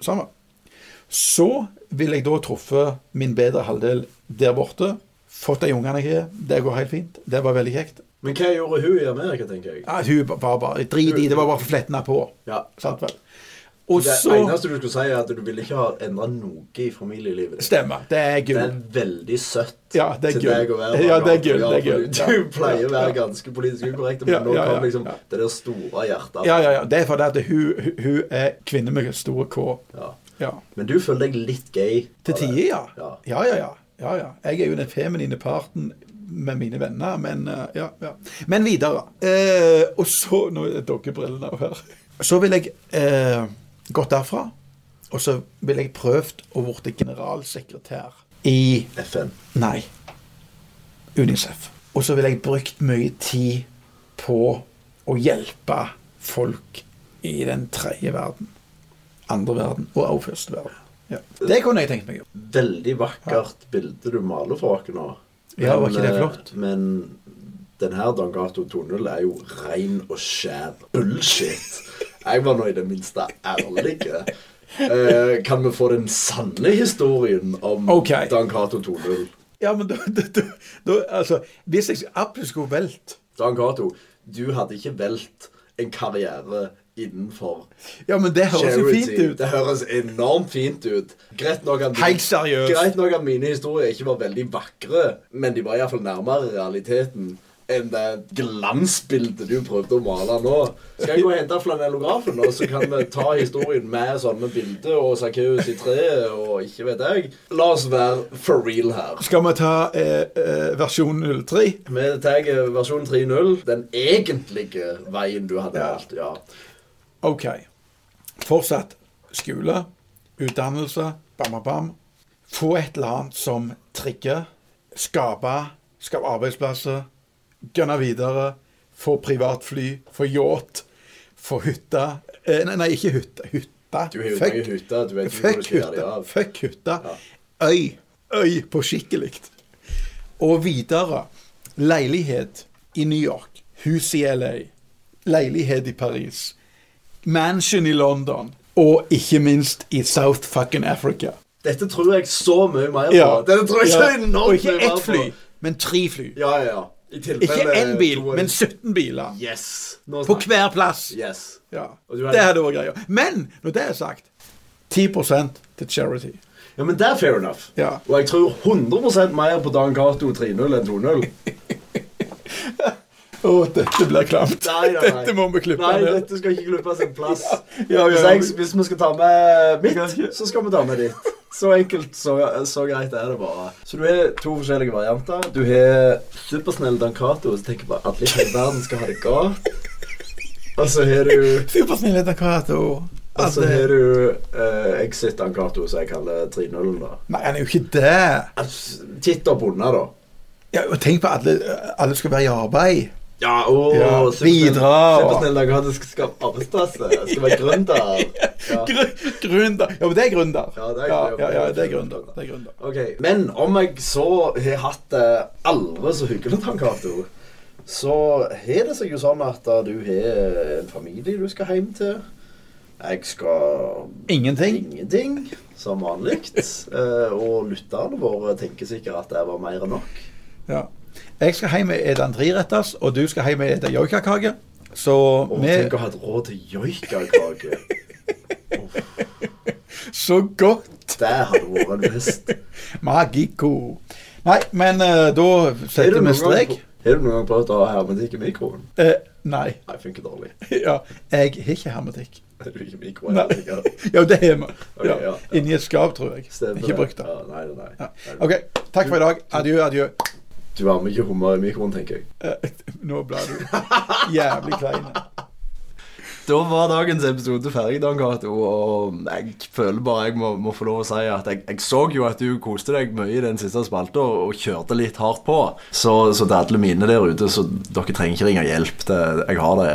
Speaker 2: Samme. Så vil jeg da truffet min bedre halvdel der borte. Fått de ungene jeg har. Det går helt fint. Det var veldig kjekt.
Speaker 1: Men hva gjorde hun i Amerika, tenker jeg?
Speaker 2: Ja, hun var bare drit i. Det var bare for flettene på.
Speaker 1: Ja.
Speaker 2: Sant vel. Og
Speaker 1: Det
Speaker 2: så
Speaker 1: eneste du skulle si, er at du ville ikke ha endra noe i familielivet ditt.
Speaker 2: Stemmer. Det er
Speaker 1: Det
Speaker 2: gull.
Speaker 1: er veldig søtt
Speaker 2: Ja, det er
Speaker 1: til
Speaker 2: gull.
Speaker 1: deg å være
Speaker 2: Ja,
Speaker 1: Dan
Speaker 2: det er
Speaker 1: Cato.
Speaker 2: gull,
Speaker 1: Ja,
Speaker 2: det er
Speaker 1: for
Speaker 2: gull.
Speaker 1: Du
Speaker 2: Ja.
Speaker 1: pleier å være
Speaker 2: Ja.
Speaker 1: ganske politisk ukorrekt, men
Speaker 2: Ja,
Speaker 1: nå
Speaker 2: ja, ja,
Speaker 1: kom liksom
Speaker 2: ja.
Speaker 1: det der store hjertet.
Speaker 2: Ja, ja, ja. Det er fordi at hun, hun- hun er kvinne med stor K.
Speaker 1: Ja.
Speaker 2: Ja.
Speaker 1: Men du føler deg litt gay.
Speaker 2: Til
Speaker 1: av det.
Speaker 2: tider, ja.
Speaker 1: Ja.
Speaker 2: Ja, ja, ja. ja, ja. Jeg er jo den feminine parten med mine venner, men eh, ja, ja. Men videre. Eh, og så Nå er doggebrillene av her. Så vil jeg eh, gått derfra, og så vil jeg prøvd å bli generalsekretær i
Speaker 1: FN.
Speaker 2: Nei. Unicef. Og så vil jeg brukt mye tid på å hjelpe folk i den tredje verden. Andre verden og også første verden. Ja. Det kunne jeg tenkt meg.
Speaker 1: Veldig vakkert bilde du maler for oss nå.
Speaker 2: Ja, var
Speaker 1: Men,
Speaker 2: ikke det
Speaker 1: eh,
Speaker 2: flott?
Speaker 1: Men den her Dan Gato 2.0 er jo rein og skjær bullshit. Jeg var nå i det minste ærlig. Eh, kan vi få den sanne historien om
Speaker 2: Ok.
Speaker 1: Dan Cato 2.0?
Speaker 2: Ja, men da, da, da, da Altså, hvis jeg absolutt skulle velt
Speaker 1: Dan Cato, du hadde ikke velt en karriere innenfor
Speaker 2: Ja, men det høres jo fint
Speaker 1: Charity.
Speaker 2: ut.
Speaker 1: Det høres enormt fint ut. Greit nok at
Speaker 2: Helt seriøst.
Speaker 1: Greit nok at mine historier ikke var veldig vakre, men de var iallfall nærmere realiteten enn det glansbildet du prøvde å male nå. Skal jeg gå og hente flanellografen, og så kan vi ta historien med sånne bilder og Sakkeus i treet og ikke vet jeg. La oss være for real her.
Speaker 2: Skal vi ta eh, eh, versjon 03?
Speaker 1: Vi tar versjon 3.0, den egentlige veien du hadde valgt. Ja.
Speaker 2: OK. Fortsatt skole, utdannelse, bam, bam, bam. Få et eller annet som trigger. Skape. Skape arbeidsplasser. Gønne videre. Få privatfly. Få yacht. Få hytte. Eh, nei, nei, ikke hytte. Hytte.
Speaker 1: Du har jo
Speaker 2: Fuck.
Speaker 1: mange hytter. Du vet ikke hvor du
Speaker 2: Fuck
Speaker 1: skal gjøre det
Speaker 2: hytta.
Speaker 1: av.
Speaker 2: Fuck hytta. Øy. Øy på skikkelig. Og videre. Leilighet i New York. Hus i LA. Leilighet i Paris. Mansion i London. Og ikke minst i South fucking Africa.
Speaker 1: Dette tror jeg så mye mer på. Dette tror jeg så
Speaker 2: Ja.
Speaker 1: enormt
Speaker 2: Og ikke
Speaker 1: mye mer
Speaker 2: ett fly,
Speaker 1: på.
Speaker 2: men tre fly.
Speaker 1: Ja, ja, ja. I tilfelle
Speaker 2: Ikke én bil,
Speaker 1: to-
Speaker 2: men 17 biler.
Speaker 1: Yes. Nå
Speaker 2: På
Speaker 1: snakker-
Speaker 2: hver plass.
Speaker 1: Yes.
Speaker 2: Ja.
Speaker 1: Og du er-
Speaker 2: Det hadde vært greia. Men når det er sagt 10 til charity.
Speaker 1: Ja, men det er fair enough.
Speaker 2: Ja.
Speaker 1: Og jeg tror 100 mer på Dan Cato 3.0 enn 2.0.
Speaker 2: Å, dette blir klamt.
Speaker 1: Nei, nei, nei.
Speaker 2: Dette må vi klippe
Speaker 1: Nei,
Speaker 2: ned.
Speaker 1: dette skal ikke klippes en plass.
Speaker 2: Ja, ja, ja.
Speaker 1: Hvis, jeg, hvis vi skal ta med
Speaker 2: ikke.
Speaker 1: mitt, så skal vi ta med ditt. Så enkelt, så, så greit er det bare. Så du har to forskjellige varianter. Du har supersnill Dan Cato, som tenker på at alle i hele verden skal ha det godt. Og så har du
Speaker 2: Supersnill etter hvert og
Speaker 1: Og så har du eh, Exit Ankato, som jeg kaller 3.0-en. da.
Speaker 2: Nei, han er jo ikke det.
Speaker 1: Altså, Titt opp unna, da.
Speaker 2: Ja, og tenk på at alle, alle skal være i arbeid.
Speaker 3: Ja, å,
Speaker 2: Ja,
Speaker 3: supersnill-
Speaker 4: bidra, og-
Speaker 3: Supersnill agadisk skape arbeidsplasser. Skal være gründer. Ja.
Speaker 4: Gr- Gründer. Ja, men det er gründer.
Speaker 3: Ja, det er-
Speaker 4: ja, ja, ja, det er gründer. Det er gründer.
Speaker 3: Ok, Men om jeg så har hatt det aldri så hyggelig, Tom Cato, så har det seg jo sånn at eh, du har en familie du skal hjem til. Jeg skal
Speaker 4: Ingenting.
Speaker 3: ingenting, som vanlig. Eh, Og lytterne våre tenker sikkert at det var mer enn nok.
Speaker 4: Ja.
Speaker 2: Jeg skal hjem og spise en treretters, og du skal hjem og spise joikakake. Så
Speaker 3: Og
Speaker 2: vi
Speaker 3: tenk å ha et råd til joikakake.
Speaker 2: Så godt!
Speaker 3: Det hadde vært en fest.
Speaker 2: Magico. Nei, men eh, da setter vi strek.
Speaker 3: Har du noen gang prøvd å ha hermetikk i mikroen?
Speaker 2: Eh, nei.
Speaker 3: Nei, funker dårlig.
Speaker 2: Ja, jeg har ikke hermetikk.
Speaker 3: Er du ikke
Speaker 2: Nei.
Speaker 3: mikroen?
Speaker 2: Ja, det har vi.
Speaker 3: Ok,
Speaker 2: Ja.
Speaker 3: ja.
Speaker 2: Inni et skap, tror jeg.
Speaker 3: Stemmer
Speaker 2: Ikke brukt det.
Speaker 3: Ja, nei, nei, nei.
Speaker 2: OK, takk for i dag. Adjø, adjø.
Speaker 3: Du har med ikke hummer i mikroen, tenker jeg.
Speaker 2: Eh, Nå blir du jævlig klein.
Speaker 1: Da var dagens episode ferdig, Dan Cato, og jeg føler bare jeg må, må få lov å si at jeg, jeg så jo at du koste deg mye i den siste spalta og, og kjørte litt hardt på. Så, så til alle mine der ute, så dere trenger ikke ringe hjelp. Det, jeg har det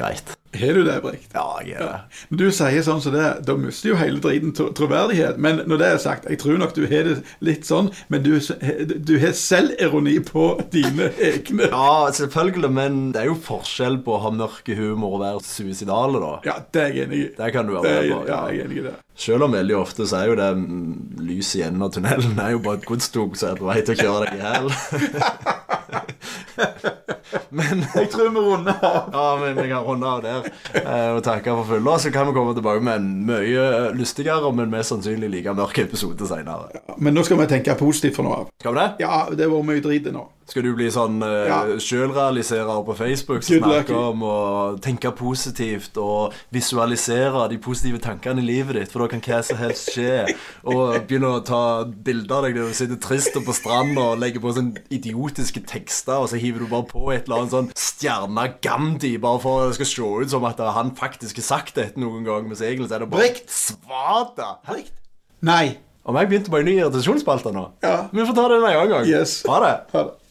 Speaker 1: greit.
Speaker 2: Har du det, Brikt?
Speaker 1: Ja, jeg er det.
Speaker 2: Du sier sånn som det, da mister jo hele driten tro- troverdighet. Men når det er sagt, jeg tror nok du har det litt sånn, men du, s- du har selvironi på dine egne.
Speaker 1: Ja, selvfølgelig, men det er jo forskjell på å ha mørke humor og være suicidale, da.
Speaker 2: Ja, det er jeg enig i.
Speaker 1: Det kan du være
Speaker 2: Det er-
Speaker 1: med på, ja.
Speaker 2: Ja, jeg er enig i det.
Speaker 1: Selv om veldig ofte så er jo det mm, lys i enden av tunnelen. Det er jo bare et godstog som er på vei til å kjøre deg i hjel. men
Speaker 2: Jeg tror vi runder av.
Speaker 1: Ja, men jeg kan runde av der eh, og takke for følget. Så kan vi komme tilbake med en mye lystigere, men mest sannsynlig like mørk episode seinere.
Speaker 2: Men nå skal vi tenke positivt for nå av.
Speaker 1: Skal vi det?
Speaker 2: Ja, det har vært mye drit nå.
Speaker 1: Skal du bli sånn eh,
Speaker 2: Ja.
Speaker 1: sjølrealiserer på Facebook
Speaker 2: Good
Speaker 1: som snakker
Speaker 2: luck.
Speaker 1: om å tenke positivt og visualisere de positive tankene i livet ditt, for da kan hva som helst skje, og begynne å ta bilder av deg der du sitter trist og på stranda og legger på sånne idiotiske tekster, og så hiver du bare på et eller annet sånn stjerne Gandhi, bare for at det skal se ut som at han faktisk har sagt dette noen gang, mens egentlig så er det bare
Speaker 2: Brikt.
Speaker 1: Svada! Brikt.
Speaker 2: Nei.
Speaker 1: Om jeg begynte på en ny irritasjonsspalte nå?
Speaker 2: Ja.
Speaker 1: Vi får ta det en annen gang.
Speaker 2: Yes.
Speaker 1: Ha det.
Speaker 2: Ha det.